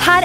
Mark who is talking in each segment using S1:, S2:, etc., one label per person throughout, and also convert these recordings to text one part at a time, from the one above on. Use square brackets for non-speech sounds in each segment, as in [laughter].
S1: her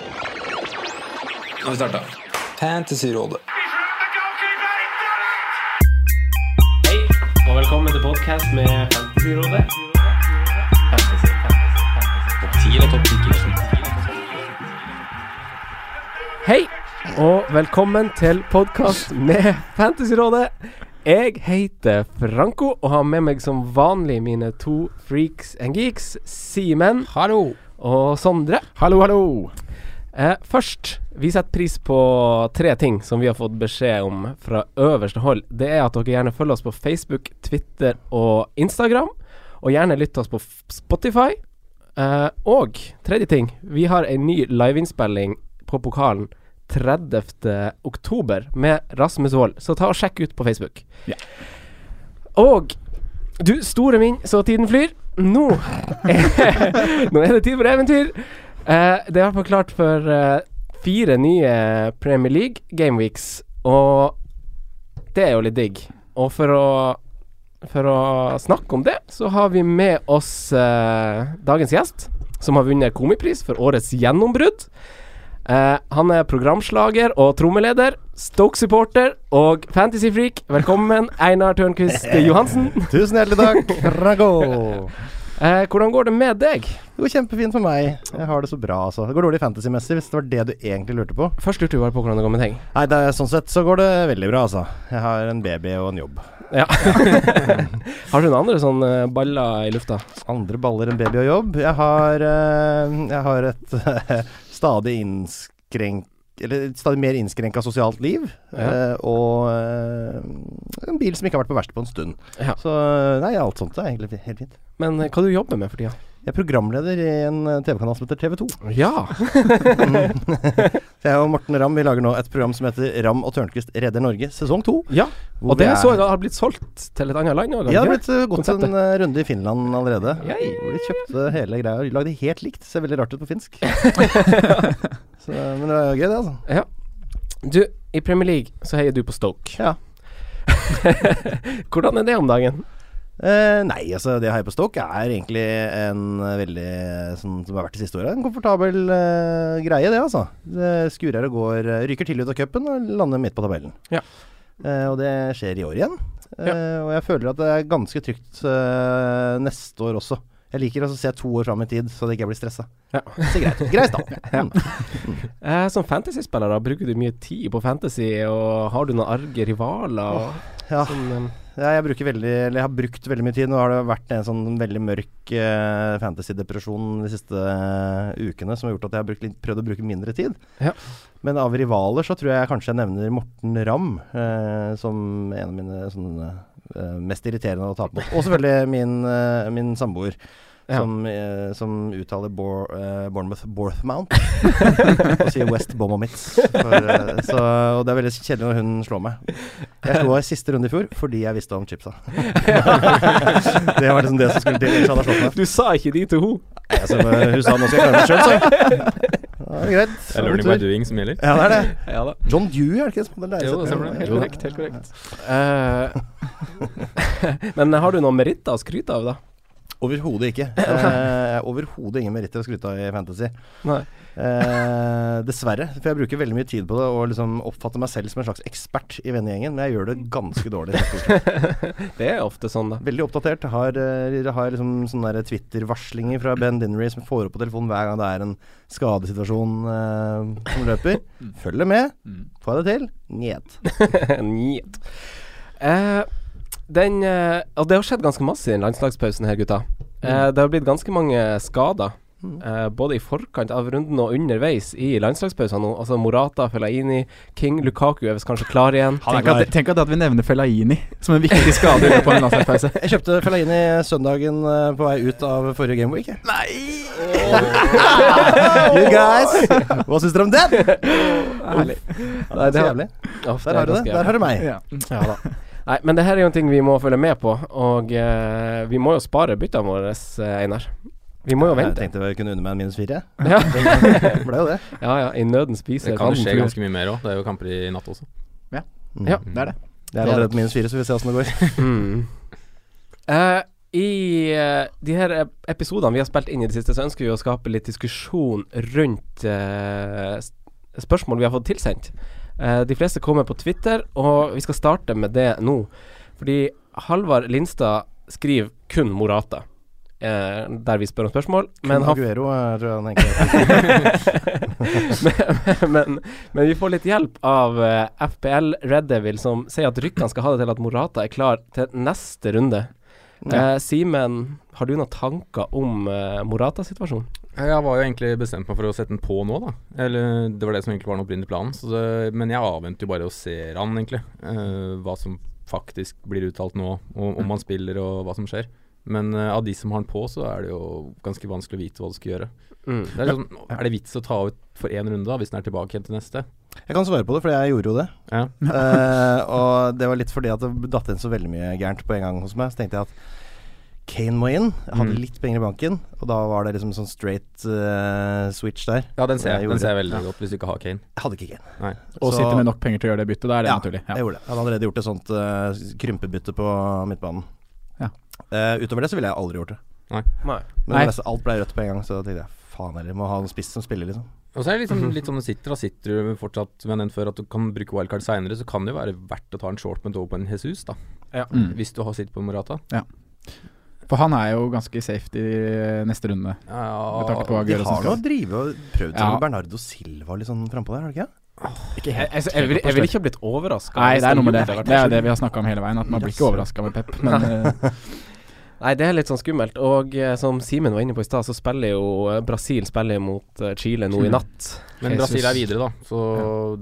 S2: Nå har vi starta. Fantasyrådet.
S3: Hei, og velkommen til podcast med Fantasyrådet. Hei, og velkommen til podcast med Fantasyrådet. Jeg heter Franco, og har med meg som vanlig mine to freaks and geeks, Simen
S2: Hallo.
S3: og Sondre.
S2: Hallo, hallo.
S3: Eh, først, vi setter pris på tre ting som vi har fått beskjed om fra øverste hold. Det er at dere gjerne følger oss på Facebook, Twitter og Instagram. Og gjerne lytter oss på F- Spotify. Eh, og tredje ting, vi har en ny liveinnspilling på pokalen 30. oktober med Rasmus Wold, så ta og sjekk ut på Facebook.
S2: Ja.
S3: Og du store min, så tiden flyr. Nå er, nå er det tid for eventyr. Eh, det er i hvert fall klart for eh, fire nye Premier League gameweeks, og det er jo litt digg. Og for å, for å snakke om det, så har vi med oss eh, dagens gjest, som har vunnet Komipris for årets gjennombrudd. Eh, han er programslager og trommeleder, Stoke-supporter og fantasy-freak. Velkommen, Einar Tørnquist Johansen.
S4: Tusen hjertelig takk, Rago.
S3: Eh, hvordan går det med deg?
S4: Jo, kjempefint for meg. Jeg har det så bra, altså. Det går dårlig fantasymessig, hvis det var det du egentlig lurte på.
S3: Først lurte vi bare på hvordan det går med deg.
S4: Nei, det er, sånn sett så går det veldig bra, altså. Jeg har en baby og en jobb.
S3: Ja. [laughs] har du noen andre sånne baller i lufta?
S4: Andre baller enn baby og jobb. Jeg har, eh, jeg har et [laughs] eh, stadig innskrenk... Eller et stadig mer innskrenka sosialt liv. eh, og eh, en bil som ikke har vært på verksted på en stund.
S3: Ja.
S4: Så eh, nei, alt sånt er egentlig fi- helt fint.
S3: Men eh, hva du jobber med for tida?
S4: Jeg er programleder i en eh, TV-kanal som heter TV2.
S3: Ja.
S4: Jeg og Morten Ramm vi lager nå et program som heter Ramm og Tørnquist redder Norge sesong to.
S3: ja.
S4: Hvor
S3: Og det
S4: vi er-
S3: så jeg har blitt solgt til et annet land òg.
S4: Ja, det har blitt eh, gått
S3: Konseptet.
S4: en eh, runde i Finland allerede.
S3: Ja, ja.
S4: Hvor de kjøpte hele greia og lagde helt likt. Ser veldig rart ut på finsk. Så, men det er jo gøy, det, altså.
S3: Ja. Du, i Premier League så heier du på Stoke.
S4: Ja.
S3: [laughs] Hvordan er det om dagen?
S4: Eh, nei, altså det jeg har på stokk er egentlig en eh, veldig eh, sånn som har vært de siste åra. En komfortabel eh, greie, det altså. Det skurer og går. eh, Ryker tidlig ut av cupen og lander midt på tabellen.
S3: Ja.
S4: Eh, og det skjer i år igjen. Eh,
S3: Ja.
S4: Og jeg føler at det er ganske trygt eh, neste år også. Jeg liker altså å se to år fram i tid, så det ikke jeg blir stressa.
S3: Ja.
S4: Det ser greit ut. Greit, da. Mm.
S3: [laughs] Eh, som fantasyspiller, da, bruker du mye tid på fantasy, og har du noen arge rivaler? Og,
S4: Ja.
S3: sånn, eh,
S4: Ja, jeg bruker veldig, eller jeg har brukt veldig mye tid. Nå har det vært en sånn veldig mørk eh, fantasy-depresjon de siste eh, ukene som har gjort at jeg har brukt litt, prøvd å bruke mindre tid.
S3: Ja.
S4: Men av rivaler så tror jeg kanskje jeg nevner Morten Ramm eh, som en av mine sånne, eh, mest irriterende å tape mot. Og selvfølgelig min, eh, min samboer.
S3: Ja. [laughs]
S4: Som, eh, som uttaler Bor, eh, Bournemouth
S2: [laughs]
S4: Borthmount og sier West Bombomits. For, eh, så, og det er veldig kjedelig når hun slår meg. Jeg slo henne i siste runde i fjor fordi jeg visste om
S2: [laughs]
S4: chipsa. det var liksom det som skulle til. Ellers
S3: sånn
S4: hadde jeg slått meg.
S3: Du sa ikke de til henne.
S4: Nei, altså, men hun sa nå skal jeg klare meg sjøl, så. Da er det greit.
S2: Det er learning by doing som gjelder.
S4: Ja, det er det.
S3: Ja da.
S4: John Dew, er det ikke det som
S2: Jo, det stemmer. Helt
S4: Jo da.
S2: korrekt. helt korrekt.
S3: Eh, [laughs] men har du noen meritter å skryte av, da?
S4: Overhodet
S2: [laughs]
S4: ikke. Eh, Overhodet ingen meritter å skryte av i Fantasy.
S3: Nei.
S4: Eh, dessverre, for jeg bruker veldig mye tid på det og liksom oppfatter meg selv som en slags ekspert i vennegjengen, men jeg gjør det ganske dårlig.
S3: Det er ofte sånn, da.
S4: Veldig oppdatert. Har, eh, har liksom sånne der Twitter-varslinger fra Ben Dinnery som får opp på telefonen hver gang det er en skadesituasjon eh, som løper. Følger med. Får jeg det til? Njet.
S3: Njet. Eh, den eh, Og det har skjedd ganske masse i den landslagspausen her, gutta. Eh,
S4: Mm.
S3: det har blitt ganske mange skader. eh, både i forkant av runden og underveis i landslagspausen nå. Altså Morata, Fellaini, King, Lukaku er visst kanskje klar igjen.
S5: Tenk at, tenk at vi nevner Fellaini som en viktig skade i løpet av en landslagspause.
S4: Jeg kjøpte Fellaini søndagen eh, på vei ut av forrige Gameweek. Nei! [laughs] you guys, hva syns dere om den?
S3: Herlig.
S4: Nei, det er så jævlig.
S3: Uff,
S4: Der har du
S3: ganske
S4: det. Der har du meg.
S5: Ja.
S3: Ja da. Nei, men det her er jo en ting vi må følge med på, og eh, vi må jo spare byttene våre, eh, Einar. Vi må jo
S4: Jeg
S3: vente.
S4: tenkte jeg kunne unne meg en minus fire.
S3: Ja,
S4: Det ble jo det.
S3: ja, ja i nøden
S2: [laughs] Det
S3: spiser
S2: kan
S3: katten
S2: jo skje
S3: fluer.
S2: ganske mye mer òg. Det er jo kamper i natt også.
S5: Det er det.
S4: Jeg er allerede på minus fire, så vi får se åssen det går.
S3: Mm. Eh, I eh, de her ep- episodene vi har spilt inn i det siste, så ønsker vi å skape litt diskusjon rundt eh, s- spørsmål vi har fått tilsendt. Eh, de fleste kommer på Twitter, og vi skal starte med det nå. Fordi Halvard Lindstad skriver kun Morata, eh, der vi spør om spørsmål. Men, han,
S4: Aguero eh, tror jeg han egentlig
S3: [laughs] men, men vi får litt hjelp av eh, FPL Red Devil, som sier at ryktene skal ha det til at Morata er klar til neste runde. Eh, Simen, har du noen tanker om eh, Morata-situasjonen?
S2: Jeg var jo egentlig bestemt meg for å sette den på nå, da. Eller det var det som egentlig var den opprinnelige planen. Så det, men jeg avventer jo bare å se han, egentlig. Eh, hva som faktisk blir uttalt nå, og om han spiller og hva som skjer. Men eh, av de som har den på, så er det jo ganske vanskelig å vite hva du skal gjøre.
S3: Mm.
S2: Det er, sånn, er det vits å ta ut for én runde, da, hvis den er tilbake igjen til neste?
S4: Jeg kan svare på det, for jeg gjorde jo det.
S2: Ja.
S4: Eh, og det var litt fordi at det datt inn så veldig mye gærent på en gang hos meg. Så tenkte jeg at Kane må inn. Jeg hadde
S2: Mm.
S4: litt penger i banken, og da var det liksom sånn straight eh, switch der.
S2: Ja, den ser
S4: Jeg
S2: jeg,
S4: gjorde
S2: den ser jeg veldig godt, hvis du ikke har Kane.
S4: Jeg hadde ikke Kane.
S2: Nei.
S5: Og
S4: Så-
S5: sitte med nok penger til å gjøre det byttet, da er det
S4: Ja,
S5: naturlig.
S4: jeg gjorde det. Jeg hadde allerede gjort et sånt eh, krympebytte på midtbanen.
S5: Ja.
S4: Eh, utover det så ville jeg aldri gjort det.
S3: Nei.
S4: Men
S5: Nei.
S4: det meste- alt ble rødt på en gang, så da tenkte jeg faen heller, må ha en spiss som spiller, liksom.
S2: Og så er det liksom
S5: Mhm.
S2: litt sånn du sitter, da sitter du fortsatt med den før at du kan bruke wildcard seinere, så kan det jo være verdt å ta en short med over på en Jesus, da.
S5: Mm.
S2: Hvis du har sitt på Morata.
S5: For han er jo ganske safe i neste runde. Med tanke på
S2: Ja,
S4: De
S5: Aguero som
S4: har nå
S5: skal
S4: drivet og prøvd seg
S5: Ja.
S4: med Bernardo Silva litt sånn frampå der, har de ikke?
S3: Jeg, jeg, jeg, vil, jeg vil ikke ha blitt overraska.
S5: Nei, det er noe med det. Det er jo det vi har snakka om hele veien, at man blir ikke overraska med Pep. Men eh,
S3: Nei, det er litt sånn skummelt. Og eh, som Simen var inne på i stad, så spiller jo eh, Brasil spiller jo mot eh, Chile nå i natt.
S2: Men
S5: Jesus.
S2: Brasil er videre, da. Så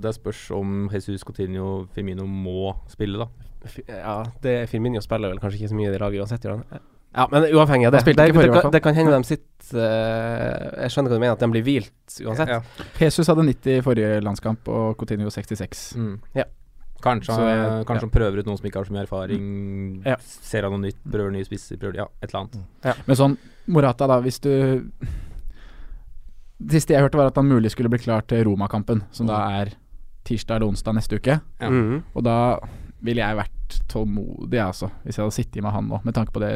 S2: det spørs om Jesus Coutinho Firmino må spille, da.
S3: Fi- Ja, det Firmino spiller vel kanskje ikke så mye i det laget uansett, gjør han? Ja, men uavhengig av det.
S5: Han
S3: Det,
S5: spilte ikke
S3: det,
S5: forrige, i hvert
S3: kan,
S5: fall.
S3: det kan hende de sitter eh, Jeg skjønner hva du mener, at de blir hvilt uansett.
S2: Ja.
S5: Jesus hadde 90 i forrige landskamp og Coutinho 66.
S2: Mm.
S3: Ja.
S2: Kanskje,
S5: Så, eh, ja. Mm.
S2: kanskje han prøver ut noen som ikke har så mye erfaring.
S3: Ja.
S2: Ser han noe nytt, prøver nye spisser, prøver Ja, et eller annet.
S5: Men sånn, Morata da, hvis du Det siste jeg hørte var at han mulig skulle bli klar til Roma-kampen, som da er tirsdag eller onsdag neste uke.
S2: Mm. Ja.
S3: Mhm.
S5: Og da ville jeg vært tålmodig, jeg, altså, hvis jeg hadde sittet med han nå, med tanke på det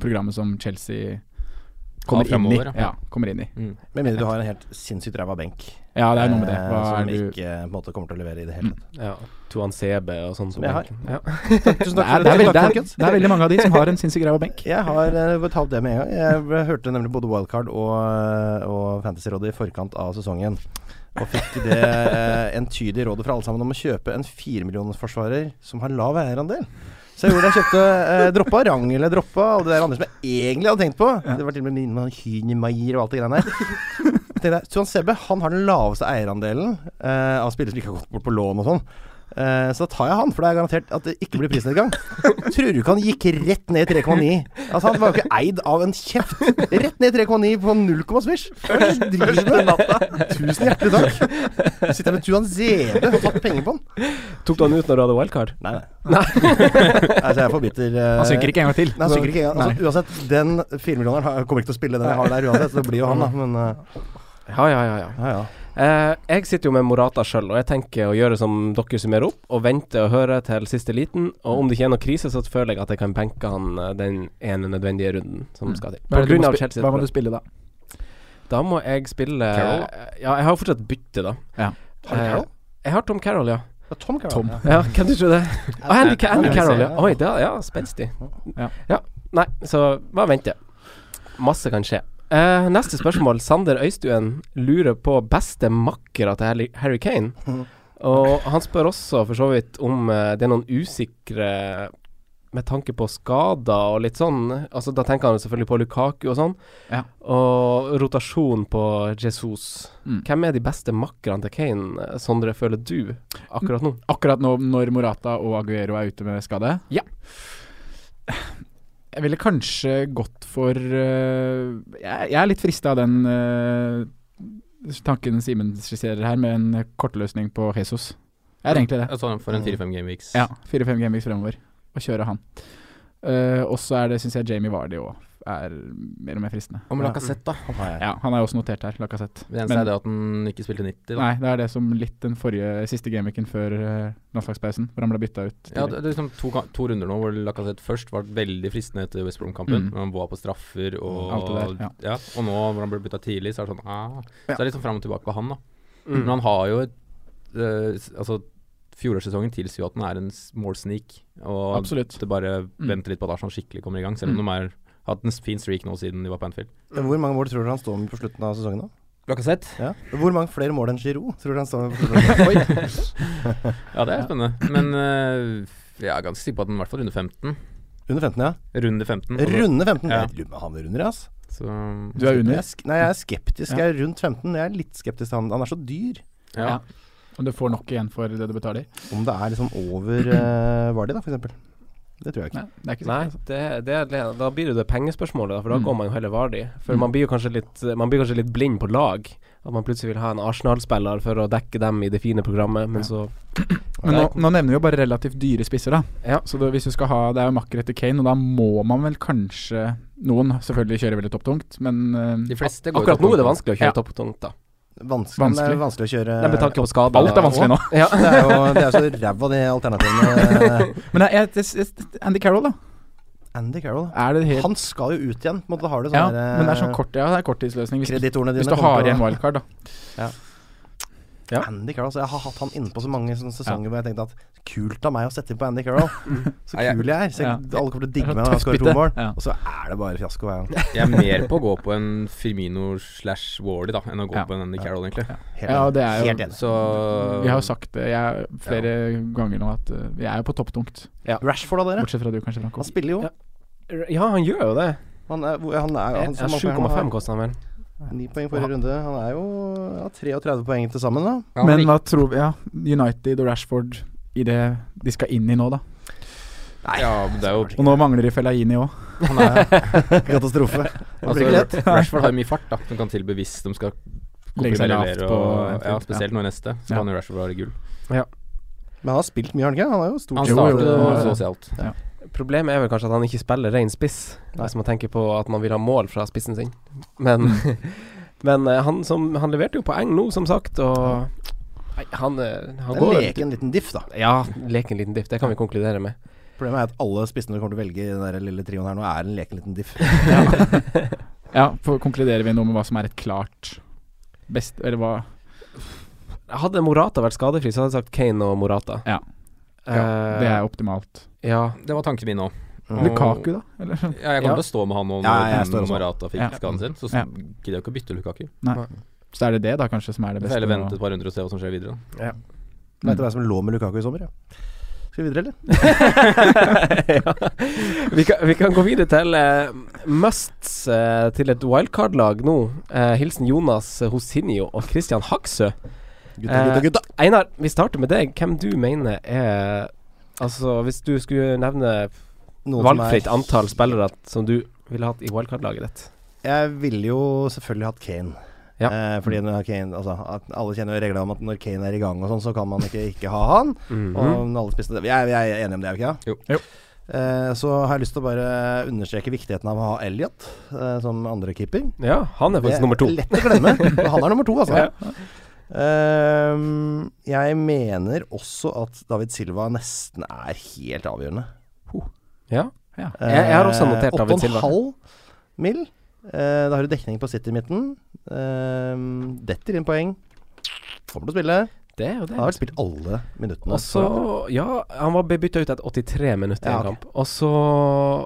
S5: programmet som Chelsea kommer inn i.
S2: fremover, ja. Mm.
S5: Ja, kommer inn i.
S4: Med mindre du har en helt sinnssykt ræva benk.
S5: Ja, det er noe med det.
S4: eh,
S5: Hva
S4: som
S5: er du Mm.
S4: ikke på en måte kommer til å levere i det hele tatt.
S3: ja. Tuan CB og sånn.
S4: Som jeg har.
S3: Ja.
S4: [laughs]
S3: [laughs]
S4: Tusen takk for
S5: det er, det, er
S4: det.
S5: veldig, det,
S4: Takk,
S5: er,
S4: folkens.
S5: det er veldig mange av de som har en sinnssyk ræva benk.
S4: Jeg har uh, talt det med en gang. Jeg ble- hørte nemlig både Wildcard og, eh, og Fantasyrådet i forkant av sesongen. Og fikk det eh, entydige rådet fra alle sammen om å kjøpe en firemillionersforsvarer som har lav eierandel. Så jeg gjorde det. Jeg kjøpte eh, droppa Rangel, jeg droppa alle de der andre som jeg egentlig hadde tenkt på. Det var til og med innom han Hynemeier og alt det greiene der. Så tenkte jeg, Suan Sebe han har den laveste eierandelen eh, av spillere som ikke har gått bort på lån og sånn. Eh, så da tar jeg han, for det er garantert at det ikke blir prisnedgang. [laughs] Tror du ikke han gikk rett ned i 3,9? Altså, han var jo ikke eid av en kjeft. Rett ned i 3,9 på 0, svisj. Hva er det som driver med natta? Tusen hjertelig takk. Sitter jeg med Tuan Zede og tatt penger på han.
S3: Tok du han ut når du hadde wildcard?
S4: Nei, nei. [laughs] altså, jeg er for bitter. eh,
S5: Han synker ikke en gang til.
S4: Nei, han synker ikke engang. Altså, uansett, den firemillioneren har- kommer ikke til å spille den jeg har der uansett, så det blir jo han, da. Men eh,
S3: Ja, ja, ja. ja.
S4: ja, ja.
S3: Eh, jeg sitter jo med Morata sjøl, og jeg tenker å gjøre som dere summerer opp, og vente og høre til siste liten. Og om det ikke er noe krise, så føler jeg at jeg kan benke han eh, den ene nødvendige runden
S4: Mm.
S3: som skal til.
S5: Hva,
S3: På
S5: er det du
S3: grunn
S5: må
S3: av
S5: spi-
S3: Chelsea.
S5: hva må du spille da?
S3: Da må jeg spille
S2: Carroll,
S3: Ja, jeg har jo fortsatt bytte, da.
S5: Ja.
S4: Har du
S3: Eh,
S4: Carroll?
S3: Jeg har Tom Carroll, ja.
S4: Ja, Tom Carroll.
S5: Tom.
S4: Ja.
S3: ja kan du tro det? Og Andy, Ca- Andy
S4: Ja,
S3: Carroll, ja.
S4: ja.
S3: Oi, det, er- ja, spenstig.
S5: Ja.
S3: Ja. Nei, så bare vente. Masse kan skje. Eh, neste spørsmål. Sander Øystuen lurer på beste makkera til Harry- Harry Kane. Og han spør også for så vidt om eh, det er noen usikre med tanke på skader og litt sånn. Altså Da tenker han jo selvfølgelig på Lukaku og sånn. Og rotasjon på Jesus.
S5: Mm.
S3: Hvem er de beste makkerne til Kane, eh, Sondre, føler du akkurat nå?
S5: Akkurat nå når Morata og Aguero er ute med skade?
S3: Ja.
S5: Jeg ville kanskje gått for øh, Jeg, jeg er litt frista av den øh, tanken Simen skisserer her, med en kortløsning på Jesus. Jeg er egentlig det.
S2: Jeg tar den
S5: Mm.
S2: for en 4-5 gameweeks.
S5: Ja, 4-5 gameweeks fremover. Og kjøre han. Uh, og så er det, syns jeg, Jamie Vardy òg er mer og mer fristende.
S2: Hva med Lacazette, da?
S5: Ja, han er også notert her, Lacassette.
S2: Det eneste er det at han ikke spilte 90, da.
S5: Nei, det er det som litt den forrige siste gameweeken før eh, landslagspausen, hvor han ble bytta ut.
S2: Ja,
S5: tidlig.
S2: det, det er liksom to, ka- to runder nå hvor Lacassette først var veldig fristende etter West Brom-kampen.
S5: Mm.
S2: Når han var på straffer og
S5: Alt det der,
S2: ja. Og nå hvor han ble bytta tidlig, så er det sånn ah. Så
S5: Ja.
S2: er det litt sånn fram og tilbake på han, da.
S5: Mm.
S2: Men han har jo et eh, s- Altså, fjorårssesongen tilsier jo at han er en s- målsnik. Og
S5: Absolutt. Mm.
S2: det bare venter litt på at Arsenal skikkelig kommer i gang, selv om de har hatt en fin streak nå siden de var på Anfield.
S4: Hvor mange mål tror du han står med på slutten av sesongen? da?
S2: Lacassette?
S4: Ja. Hvor mange flere mål enn Giroud tror du han står med på slutten? av sesongen?
S2: Ja, det er spennende. Men eh, jeg er ganske sikker på at den i hvert fall runder 15.
S4: Under 15, ja.
S2: Runde 15.
S4: Runde 15?
S2: Ja.
S4: Jeg lurer på om han runder, ass.
S2: Så,
S5: Du er under?
S4: Jeg er sk- Nei, jeg er skeptisk. Jeg er rundt 15. Jeg er litt skeptisk til han. Han er så dyr.
S5: Ja. Om du får nok igjen for det du betaler?
S4: Om det er liksom
S5: [clears throat]
S4: over uh, Vardi, da, f.eks. Det tror jeg ikke.
S5: Nei, det er ikke altså.
S3: Nei, det, det, er det, da blir det det pengespørsmålet, da, for da
S5: Mm.
S3: går man jo heller Vardi. For
S5: Mm.
S3: man blir jo kanskje litt, man blir kanskje litt blind på lag. At man plutselig vil ha en Arsenal-spiller for å dekke dem i det fine programmet, men så
S5: Men nå, nå nevner vi jo bare relativt dyre spisser, da. Så da, hvis du skal ha Det er jo makker etter Kane, og da må man vel kanskje Noen selvfølgelig kjører veldig topptungt, men eh,
S2: De fleste
S5: ak-
S2: går
S3: Akkurat nå er det vanskelig å kjøre
S5: Ja.
S3: topptungt, da.
S4: Vanskelig,
S5: Vanskelig.
S4: Det er vanskelig å kjøre
S3: Nei, med tanke på skader.
S5: Alt er vanskelig nå.
S3: Ja.
S4: Det er jo det er så ræva, de alternativene.
S5: [laughs] Men jeg, jeg, jeg, Andy Carroll, da.
S4: Andy Carroll.
S5: Er det helt
S4: Han skal jo ut igjen. På en måte har du
S5: Ja,
S4: sånn der,
S5: men det er sånn kort, ja, det er korttidsløsning. Hvis,
S4: Kreditorene dine
S5: hvis du
S4: kommer til
S5: har
S4: å-
S5: igjen wildcard, da. Ja.
S4: Andy Carroll. Så jeg har hatt han innpå så mange sånne sesonger hvor jeg tenkte at kult av meg å sette inn på Andy
S5: [laughs]
S4: Carroll. Så
S2: Nei, jeg-
S4: kul jeg er. Så
S5: Mm. Ja.
S4: alle kommer til å
S5: Det er
S4: digge
S5: sånn
S4: meg når han skårer to
S5: tøffbytte.
S4: mål.
S5: Ja.
S4: Og så er det bare fiasko hver gang.
S2: Jeg er mer på å gå på en Firmino slash Warley da, enn å gå
S5: Ja.
S2: på en Andy Carroll, egentlig.
S4: Helt
S5: Ja,
S4: enig.
S5: det er jo-
S4: Helt enig.
S2: Så
S5: Vi har jo sagt det jeg, flere ganger nå at eh, vi er jo på topptungt.
S4: Rashford da, dere.
S5: Bortsett fra du, kanskje, Franco.
S4: Han spiller jo.
S3: Ja. Ja, han gjør jo det.
S4: Han er, hvor- han er, han,
S3: Ja,
S4: som han-
S3: 7,5 koster han vel.
S4: Ni poeng forrige runde. Han er jo ja, 33 poeng til sammen,
S5: [laughs]
S4: da.
S2: Ja,
S5: Men
S2: men
S5: hva tror vi Ja, United og Rashford i det de skal inn i nå, da.
S2: ja, men det er jo
S5: Og nå mangler de Fellaini òg.
S2: han er,
S4: Katastrofe. Det blir ikke lett.
S2: altså, [laughs] Rashford har jo mye fart da, som kan tilby hvis de skal
S5: Legge
S2: komprimere
S5: seg lavt
S2: lever
S5: på
S2: og-
S5: Anfield,
S2: Ja,
S5: ja.
S2: spesielt nå i neste, så
S5: Ja.
S2: kan jo Rashford være gull.
S4: Men han har spilt mye, har han ikke? Han er jo
S2: Han
S4: stort
S5: Jo, jo,
S2: startet
S5: jo.
S2: og så seg alt.
S3: Problemet er vel kanskje at han ikke spiller ren spiss, hvis man tenker på at man vil ha mål fra spissen sin. Men, [laughs] men eh, han, som, han leverte jo poeng nå, som sagt, og Nei, han, eh, han
S4: Det er
S3: går
S4: leken liten diff, da.
S3: Ja, leken liten diff. Det kan vi konkludere med.
S4: Problemet er at alle spissene du kommer til å velge i den der lille trioen her nå, er en leken liten
S5: [laughs]
S4: diff.
S5: Ja, for konkluderer vi nå med hva som er et klart best Eller hva
S3: Hadde Morata vært skadefri, så hadde jeg sagt Kane og Morata.
S5: Ja.
S3: Eh,
S5: Det er optimalt.
S3: ja. [laughs]
S2: Det var tanken min òg.
S5: Lukaku, da? Eller?
S2: Ja, jeg kommer til å stå med han nå
S4: Ja, jeg
S2: når
S4: står også.
S2: Marata fikk
S5: Ja.
S2: skaden sin. Så
S5: Ja.
S2: gidder jeg jo ikke å bytte Lukaku.
S5: Så er det det, da, kanskje, som er det
S2: Jeg får
S5: beste.
S2: heller vente
S5: nå.
S2: et par runder og se hva som skjer videre.
S4: Vet du hvem som lå med Lukaku i sommer, ja? Skal vi videre, eller?
S3: ja. Vi, kan, vi kan gå videre til eh, musts eh, til et wildcard-lag nå. Eh, hilsen Jonas Hosinio og Christian Hagsø.
S4: Gutta,
S3: Eh,
S4: gutta, gutta!
S3: Einar, vi starter med deg. Hvem du mener er Altså, hvis du skulle nevne
S4: Noen som er-
S3: valgfritt antall spillere som du ville hatt i wildcard-laget ditt.
S4: Jeg ville jo selvfølgelig hatt Kane.
S3: Ja.
S4: Eh, fordi når Kane, altså, at alle kjenner jo reglene om at når Kane er i gang og sånn, så kan man ikke ikke ha han.
S3: Mhm.
S4: Og når alle spiste det. Jeg, jeg er enig om det, er vi ikke det?
S2: Jo.
S5: Jo.
S4: Eh, så har jeg lyst til å bare understreke viktigheten av å ha Elliot eh, som andre keeper.
S3: Ja, han er
S4: Det
S3: faktisk nummer to.
S4: er lett å glemme.
S3: [laughs]
S4: men Han er nummer to, altså.
S3: Ja.
S4: Ehm, jeg mener også at David Silva nesten er helt avgjørende.
S3: Ja. Jeg- jeg har også notert
S4: Eh,
S3: David Silva.
S4: 8,5 mil. Eh, da har du dekning på City i midten. Ehm, detter inn poeng. Kommer til å spille.
S3: Det er jo det.
S4: Han har vel spilt alle minuttene.
S3: Og så Ja, han var bytta ut etter 83 minutter i
S4: Ja,
S3: en
S4: ok.
S3: kamp. Og så,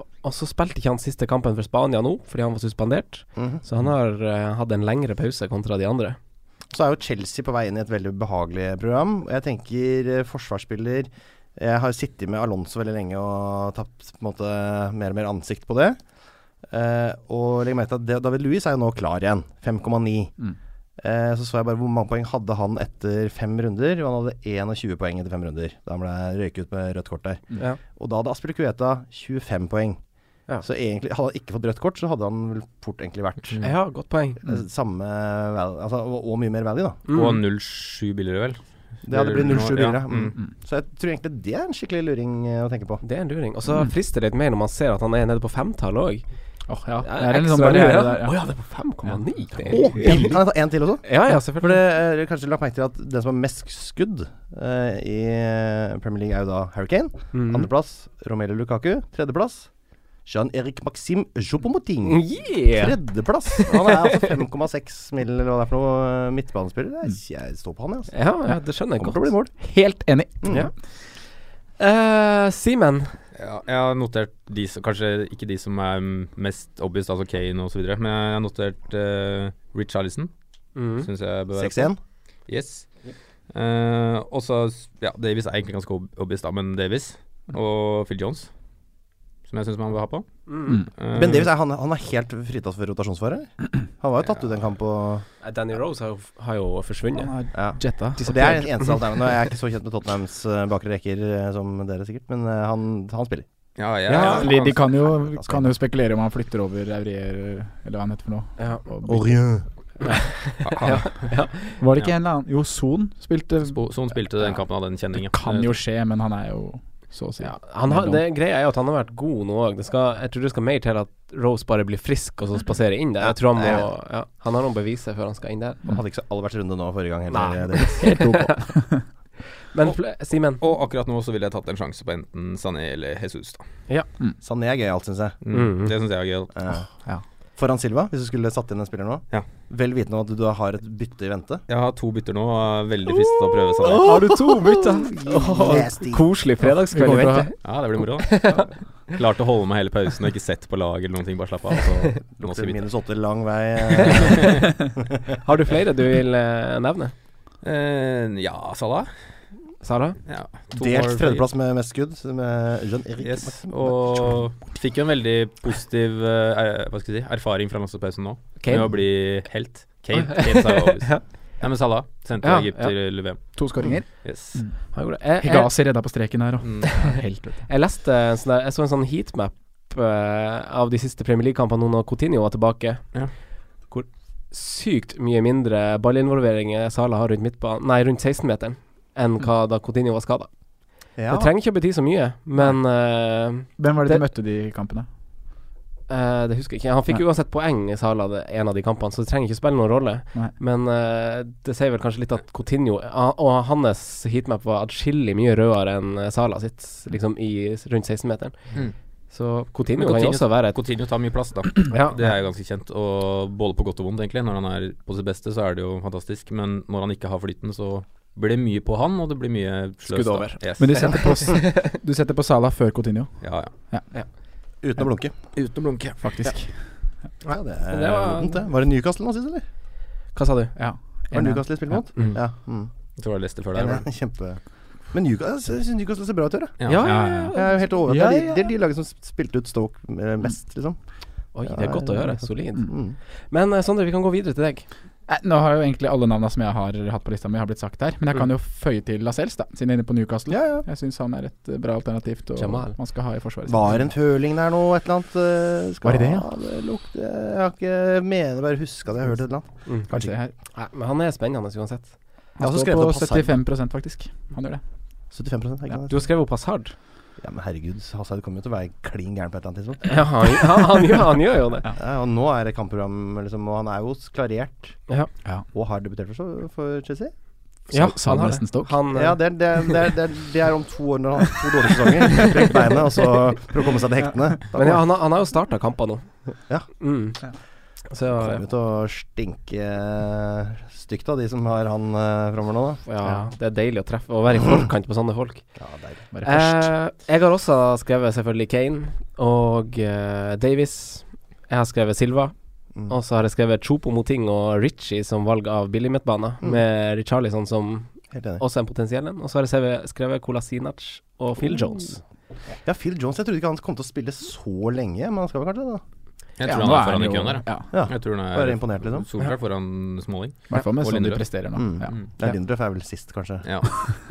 S3: og så spilte ikke han siste kampen for Spania nå, fordi han var suspendert.
S4: Mhm.
S3: Så han har eh, hatt en lengre pause kontra de andre.
S4: Så er jo Chelsea på vei inn i et veldig behagelig program. Og jeg tenker eh, forsvarsspiller Jeg har sittet med Alonso veldig lenge og tapt på en måte mer og mer ansikt på det. Eh, og legg merke til at det- David Louis er jo nå klar igjen. 5,9.
S5: Mm.
S4: Eh, så så jeg bare hvor mange poeng hadde han etter fem runder. Og han hadde 21 poeng etter fem runder da han ble røyket ut med rødt kort der.
S5: Mm.
S3: Ja.
S4: Og da hadde Aspelikueta 25 poeng. Så egentlig, hadde han ikke fått rødt kort, så hadde han vel fort egentlig
S5: Mm.
S4: vært
S3: Ja, godt poeng.
S4: Eh, Samme val- altså, og, og mye mer value, da.
S2: Og
S3: Mm.
S2: 07 billigere, vel?
S4: Det hadde blitt 07 billigere.
S2: Ja.
S4: Mm.
S2: Mm.
S4: Så jeg tror egentlig det er en skikkelig luring eh, å tenke på.
S3: Det er en luring. Og så
S4: Mm.
S3: frister det litt mer når man ser at han er nede på femtallet òg.
S5: Åh, ja.
S3: Ja,
S5: Det er en
S3: ekstra
S4: liksom
S5: sånn barriere
S3: luring,
S5: der.
S3: ja. Å ja, det er på 5,9. Det er
S4: Å, en, kan jeg ta en til også?
S3: Ja, ja,
S4: For
S3: selvfølgelig.
S4: det er eh, kanskje lagt merke til at den som har mest skudd eh, i eh, Premier League, er jo da Harry Kane.
S3: Mhm.
S4: Andreplass Romelu Lukaku. Tredjeplass Jean-Erik Maxim Jopomoting.
S3: Mm, Yeah.
S4: Tredjeplass! Han er altså 5,6 mill. eller hva det er for noe eh, midtbanespiller. Jeg, jeg står på han, jeg. Altså.
S3: Ja, ja, det skjønner jeg
S4: Kommer til å bli
S3: godt.
S4: mål.
S5: Helt enig.
S2: Mm.
S3: Ja. Eh, Simen.
S2: Ja, jeg har notert de som Kanskje ikke de som er mm, mest obvious, altså Kane osv., men jeg har notert uh, Rich Allison.
S3: Mm.
S2: Syns jeg bør være på.
S4: 6-1.
S2: Yes. Eh, og så Ja, Davies er egentlig ganske ob- obvious, da, men Davies og Phil Jones, som jeg syns man bør ha på.
S3: Mm.
S2: Eh,
S4: Ben Davies er, han, han er helt fritatt for rotasjonsfare. Han var jo tatt ut en kamp og
S3: Eh, Danny Rose har, jo- har jo forsvunnet.
S5: Han har
S4: ja.
S5: jetta.
S4: Og Det er det eneste alternativet. Nå er Jeg er ikke så kjent med Tottenhams eh, bakre rekker eh, som dere sikkert, men eh, han, han spiller.
S2: ja, jeg,
S5: Ja, de, de kan jo,
S4: Ja,
S5: kan jo spekulere om han flytter over Aurier eller hva han heter for noe.
S3: Ja.
S5: Og-
S4: Orien.
S2: han,
S5: Var det ikke en eller annen Jo, Son spilte
S2: Spo- Son spilte den kampen, hadde en kjenning. ja.
S5: Det kan jo skje, men han er jo så å si
S3: Ja, han har, det Greia er jo at han har vært god nå òg. Jeg tror det skal mer til at Rose bare blir frisk og så spaserer inn der. Jeg tror Han må ja, Han har noen beviser før han skal inn der.
S4: Han hadde ikke så all hvert runde nå forrige gang.
S3: Nei.
S4: Heller, eh, Davies.
S5: helt ok.
S3: Men fl- Eh, Simen.
S2: Og akkurat nå så ville jeg tatt en sjanse på enten Sané eller Jesus. da
S4: Sané er gøyalt, syns jeg.
S2: mm.
S3: Mhm.
S2: Det syns jeg er gøy. da.
S4: Eh,
S5: ja.
S4: Foran Silva, hvis du skulle satt inn en spiller nå.
S2: Ja.
S4: Vel vitende om at du da har et bytte i vente.
S2: Jeg har to bytter nå, og er veldig frista å prøve Sané.
S5: Har du to bytter?
S4: Nasty.
S3: Koselig
S5: Vi
S3: fredagskveld.
S5: går
S3: vet
S5: fra-
S3: du.
S2: Ja, det blir moro. da. Klarte å holde meg hele pausen og ikke sett på lag eller noen ting. Bare slappe av. Så nå
S4: Lukter
S2: skal vi bytte.
S4: minus åtte lang vei. eh.
S3: Har du flere du vil eh, nevne?
S2: Eh, ja, Salah.
S3: Sara?
S2: Ja, to
S4: Delt
S2: mål.
S4: tredjeplass med mest skudd, eh, med Jean-Erik
S2: Yes,
S4: Maxim.
S2: og fikk jo en veldig positiv eh, hva skal jeg si, erfaring fra landslagspausen nå, med å
S3: Kane?
S2: bli helt. Kane, Kane sa obvious.
S3: [laughs] Ja.
S2: Nei, men Salah sendte
S3: Ja,
S2: Egypt Mm.
S3: ja.
S2: til VM.
S5: To skåringer.
S2: Yes.
S3: Han gjorde det. Eh, Jeg, jeg,
S5: Higazi redda på streken her òg.
S2: Mm.
S5: [laughs] Helt, vet du.
S3: Jeg leste en sånn der, Jeg så en sånn heatmap eh, av de siste Premier League-kampene nå når Coutinho var tilbake.
S2: Ja.
S3: Hvor sykt mye mindre ballinvolveringer Sala har rundt midtbanen Nei, rundt 16-meteren enn hva da Coutinho var skada.
S4: Ja.
S3: Det trenger ikke å bety så mye, men eh,
S5: Hvem var det
S3: Det-
S5: de møtte de kampene?
S3: eh, eh, det husker jeg ikke. Han fikk
S5: Nei.
S3: uansett poeng i Sala det, en av de kampene, så det trenger ikke spille noen rolle.
S5: Nei.
S3: Men eh, det sier vel kanskje litt at Coutinho ah, og hans heatmap var atskillig mye rødere enn eh, Sala sitt, liksom i rundt 16-meteren.
S2: Mm.
S3: Så Coutinho,
S2: Men
S3: kan jo
S2: Coutinho-
S3: også være et
S2: Coutinho tar mye
S3: [clears throat]
S2: plass, da.
S3: Ja.
S2: Det er jo ganske kjent. Og både på godt og vondt, egentlig. Når han er på sitt beste, så er det jo fantastisk. Men når han ikke har flyten, så blir det mye på han, og det blir mye sløst.
S3: Skudd
S2: da.
S3: over.
S2: Yes.
S5: Men du setter på, du setter på Salah før Coutinho,
S2: Ja, ja.
S4: Uten å blunke.
S2: Uten å blunke.
S5: faktisk.
S4: Ja, det er
S3: Det var-
S4: vondt, det. Var det Newcastle nå sist, eller?
S3: Hva sa du?
S5: Ja.
S4: Var det Newcastle de spilte mot?
S3: Mm.
S4: Ja. Mm.
S2: Jeg tror det er Leicester før der. var det?
S4: Enig, Kjempe Men Newcastle, jeg synes Newcastle ser bra ut i år. jeg.
S3: Ja, ja,
S4: Jeg er jo helt overrasket.
S3: Ja,
S4: Det er
S3: ja.
S4: de- Det er de lagene som spilte ut Stoke eh, mest, liksom.
S3: Oi, det er godt å
S4: Ja,
S3: høre.
S4: ja.
S3: Solid.
S4: Mm.
S3: Men eh, Sondre, vi kan gå videre til deg.
S5: Nei, Eh, Nå har jo egentlig alle navna som jeg har hatt på lista mi, har blitt sagt her. Men jeg kan jo føye til Lascelles, da, siden jeg er inne på Newcastle.
S4: Ja, ja.
S5: Jeg syns han er et eh, bra alternativt og
S3: Jamal.
S5: man skal ha i forsvaret. sitt.
S4: Var en føling der nå, et eller annet? eh, Skal
S5: Var det det, ja?
S4: ja? det lukte Jeg har ikke mener bare huska det jeg hørte et eller annet.
S5: Skal vi se her.
S3: Mm. Nei, men han er spennende uansett.
S4: Jeg har
S5: Han
S4: også
S5: står
S4: skrevet
S5: på
S4: opp Hazard.
S5: 75 faktisk. Han gjør det.
S4: 75 er ikke
S3: Du
S4: det?
S3: har skrevet opp Hazard.
S4: Ja, men herregud, Hazard kommer jo til å være klin gæren på et eller annet tidspunkt.
S3: Ja, han, han, han, gjør, han gjør jo det.
S4: Ja, og nå er det kampprogram, liksom, og han er jo klarert.
S3: Ja.
S5: Ja.
S4: Og har debutert for, så- for Chelsea.
S3: Ja,
S5: Sa
S3: han har
S5: nesten
S3: det.
S5: Stoke.
S3: Han, eh,
S4: Ja, det er, det, er, det, er, det, er, det er om to år når han har to dårlige sesonger. [laughs] Brekk beinet, og så prøve å komme seg til hektene. Da
S3: men ja, han, har- han har jo starta kamper nå.
S4: Ja.
S3: Mm.
S5: Ja.
S3: Så eh,
S4: kommer det til å stinke eh, stygt av de som har han uh, framover nå, da.
S3: ja, det er deilig å treffe og være i forkant på sånne folk.
S4: Ja, deilig.
S5: Bare først.
S3: Eh, jeg har også skrevet selvfølgelig Kane og eh, Davies. Jeg har skrevet Silva. Og så har jeg skrevet Chopo Moting og Ritchie som valg av billigmidtbane,
S4: Mm.
S3: med Richarlison som
S4: Helt enig.
S3: også en potensiell en. Og så har jeg skrevet- skrevet Kolasinac og Phil Jones.
S4: Ja, Phil Jones. Jeg trodde ikke han kom til å spille så lenge, men han skal vel kanskje det, da?
S2: Jeg tror han er foran i køen der. ja.
S4: Ja.
S2: Jeg tror han er
S4: Bare imponert, liksom.
S2: Solklart foran Småling.
S4: I hvert fall med
S2: Og
S4: sånn de
S2: Lindeløf.
S4: presterer nå. Mm. Ja. Ja, Lindeløf er vel sist, kanskje.
S2: Ja.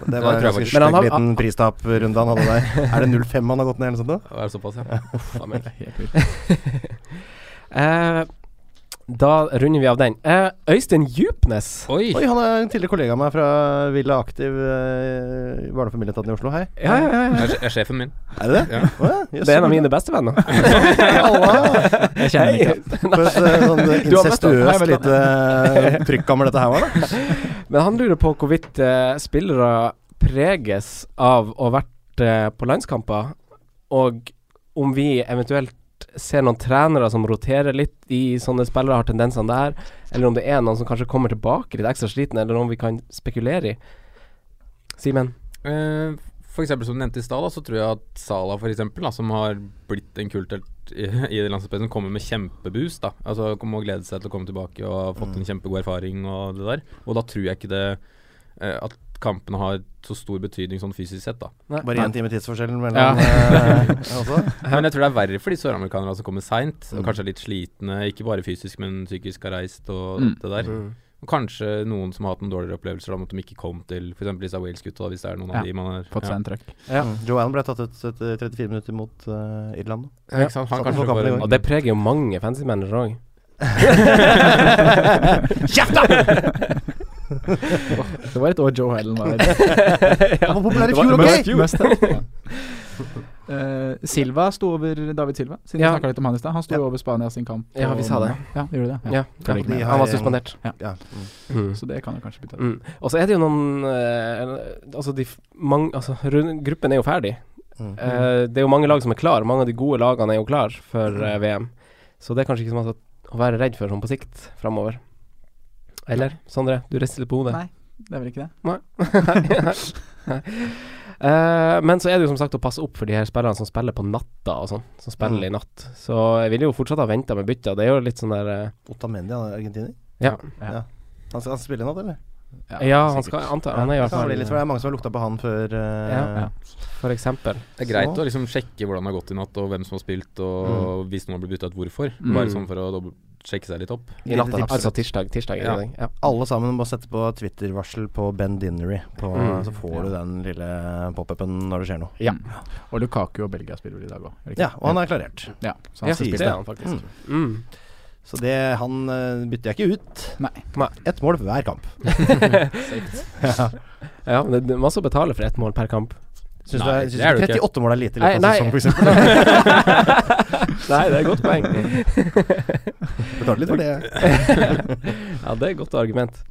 S4: Det var en ganske stygg liten pristaprunde han hadde der. Er det 0-5 han har gått ned, eller noe sånt?
S2: Er det såpass, ja?
S3: [laughs] Uff a meg.
S2: Helt
S3: [laughs] Eh, da runder vi av den. Eh, Øystein Djupnes.
S4: Oi. han er en tidligere kollega av meg fra Villa Aktiv eh, i Barne- og familieetaten i Oslo. Hei.
S3: Ja, ja, ja, ja.
S2: Er, er sjefen min.
S4: Er det det?
S2: Ja.
S4: Å ja, jøss.
S3: Det er en av mine beste venner.
S4: Halla.
S3: Jeg kjenner
S4: Hei.
S3: ikke.
S4: For et eh,
S3: Du har møtt han.
S4: sånn
S3: Nei, jeg
S4: incestuøst
S3: vet
S4: lite eh, trykkammer dette her var, da.
S3: Men han lurer på hvorvidt eh, spillere preges av å ha vært eh, på landskamper, og om vi eventuelt ser noen trenere som roterer litt i sånne spillere, har tendensene der, eller om det er noen som kanskje kommer tilbake litt ekstra sliten, eller om vi kan spekulere i. Simen?
S2: Eh, For eksempel som du nevnte i stad, da, så tror jeg at Sala for eksempel, da, som har blitt en kulthelt i, i landslagspressen, kommer med kjempeboost. da Altså kommer og gleder seg til å komme tilbake og har fått en
S5: Mm.
S2: kjempegod erfaring og det der. Og da tror jeg ikke det eh, at kampene har så stor betydning sånn fysisk sett, da.
S4: Nei. Bare én time tidsforskjellen
S2: Ja.
S4: mellom,
S3: [laughs]
S4: eh, også?
S2: Men jeg tror det er verre for de søramerikanerne som kommer seint,
S5: Mm.
S2: og kanskje er litt slitne, ikke bare fysisk, men psykisk har reist og
S5: Mm.
S2: det der.
S5: Mm.
S2: Og kanskje noen som har hatt noen dårligere opplevelser om at de ikke kom til f.eks. disse Wales-gutta, da, hvis det er noen
S5: Ja.
S2: av de man har
S5: Fått seg en trøkk.
S3: Ja.
S4: Mm. Joe Allen ble tatt ut etter 34 minutter mot eh, Irland. da.
S2: Ja, ikke sant? Han
S4: Satt
S2: kanskje
S4: på kampen
S2: bare-
S4: i går.
S3: Og det preger jo mange fancy-managere [laughs]
S5: [laughs]
S3: òg.
S4: Kjeft, da!
S5: Det var et år Joe Allen var
S4: Han var populær i
S5: Det var-
S4: fjor,
S5: det var
S4: ok?
S5: i fjor. Mest, ja. Eh, Silva sto over David Silva, siden
S3: Ja.
S5: vi snakket litt om han i stad. Han sto over Spania sin kamp.
S3: Ja,
S5: på
S3: vi sa det.
S5: mandag. Ja, gjorde det.
S3: Ja.
S5: Følger ikke med.
S3: Ja, han var suspendert.
S5: Ja.
S4: Ja.
S3: Mm.
S5: Så det kan jo kanskje bytte ut.
S3: Mm. Og så er det jo noen eh, Altså, de f- mang, altså rund, gruppen er jo ferdig.
S4: Mm.
S3: Eh, det er jo mange lag som er klar Mange av de gode lagene er jo klar for eh, VM. Så det er kanskje ikke så mye å være redd for sånn på sikt framover. Eller, Sondre? Du rister litt på hodet.
S5: Nei, det er vel ikke det?
S3: Nei. Nei. Nei. [laughs] Eh, men så er det jo som sagt å passe opp for de her spillerne som spiller på natta og sånn. Som spiller i
S4: Mm.
S3: natt. Så jeg ville jo fortsatt ha venta med bytta. Det er jo litt sånn der eh,
S4: Otamendi, han er argentiner?
S3: Ja.
S4: Ja. Han, skal- han spiller i natt, eller?
S3: Ja, han skal jeg antar Han er i hvert
S4: Kan
S3: fall
S4: bli litt, for det er mange som har lukta på han før eh,
S3: Ja. For eksempel.
S2: Det er greit
S4: Så-
S2: å liksom sjekke hvordan det har gått i natt, og hvem som har spilt, og hvis noen har blitt bytta ut, hvorfor.
S3: Mm.
S2: Bare sånn for å dobbel- sjekke seg litt opp.
S3: I natt,
S4: Lite tips.
S3: altså tirsdag. Tirsdag er
S2: Ja.
S3: det i dag. Ja.
S4: Alle sammen må sette på Twitter-varsel på Ben Dinnery, på,
S3: Mm.
S4: så får du den lille pop-upen når det skjer noe.
S5: Ja. Og Lukaku og Belgia spiller vel i dag òg.
S4: Ja, og han er klarert.
S5: Ja, så han
S3: Ja,
S5: skal
S3: det er
S5: spille.
S3: han faktisk. Mm.
S4: Så det, han eh, bytter jeg ikke ut.
S3: [laughs]
S5: Nei.
S4: Ett mål hver kamp.
S3: Ja, men det er masse å betale for ett mål per kamp.
S4: Syns du
S2: Nei,
S4: er- syns
S2: det er
S4: du
S2: det ikke.
S4: 38 mål er lite i
S3: Nei,
S4: løpet av
S3: nei.
S4: sesongen, for
S3: [laughs]
S4: eksempel?
S3: Nei, det er et godt poeng.
S4: Betaler litt for det.
S3: [laughs] ja, det er et godt argument.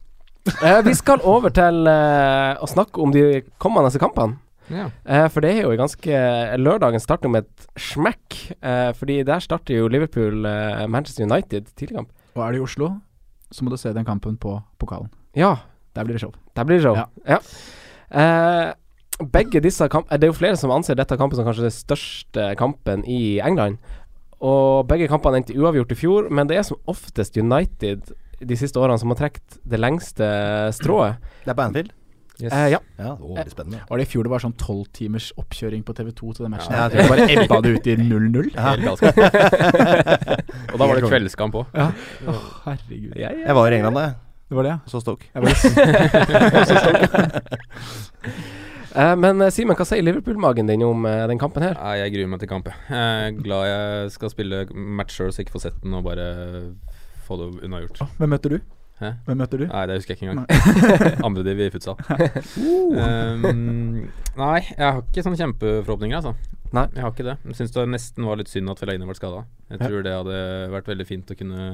S3: Eh, vi skal over til eh, å snakke om de kommende kampene.
S2: Ja.
S3: Eh, for det er jo en ganske eh, Lørdagen starter med et smekk. Eh, fordi der starter jo Liverpool-Manchester United tidligkamp.
S5: Og er du i Oslo, så må du se den kampen på pokalen.
S3: Ja,
S5: Der blir det show.
S3: der blir det show.
S5: Ja.
S3: Ja. Eh, begge disse kamp eh, Det er jo flere som anser dette kampen som kanskje den største kampen i England. Og begge kampene endte uavgjort i fjor, men det er som oftest United de siste årene som har trukket det lengste strået.
S4: Det er på Anfield.
S2: Yes.
S3: Eh, ja.
S4: Ja, det var veldig spennende.
S5: Var det i fjor det var sånn tolvtimers oppkjøring på TV2 til den matchen?
S4: Ja,
S5: Ja,
S4: jeg tror det.
S5: bare ebba det ut i 0-0?
S2: Helt galskap. og da var det kveldskamp òg.
S5: Ja. Åh, herregud.
S3: Ja, ja.
S4: Jeg var i England da, jeg.
S5: Det var det, ja.
S4: og så Stoke.
S5: Jeg var
S3: Eh, men eh, Simen, hva sier Liverpool-magen din om eh, den kampen her?
S2: Nei, jeg gruer meg til kamp, jeg. Jeg er glad jeg skal spille match sjøl, så jeg ikke får sett den og bare få det unnagjort.
S5: Hvem møter du?
S2: Hæ?
S5: Hvem møter du?
S2: Nei, det husker jeg ikke engang. [laughs] Andrediv i
S4: [laughs]
S2: futsal. Um, nei, jeg har ikke sånne kjempeforhåpninger, altså.
S3: Nei.
S2: Jeg har ikke det. Jeg syns det nesten var litt synd at Fellaini ble skada. Jeg tror det hadde vært veldig fint å kunne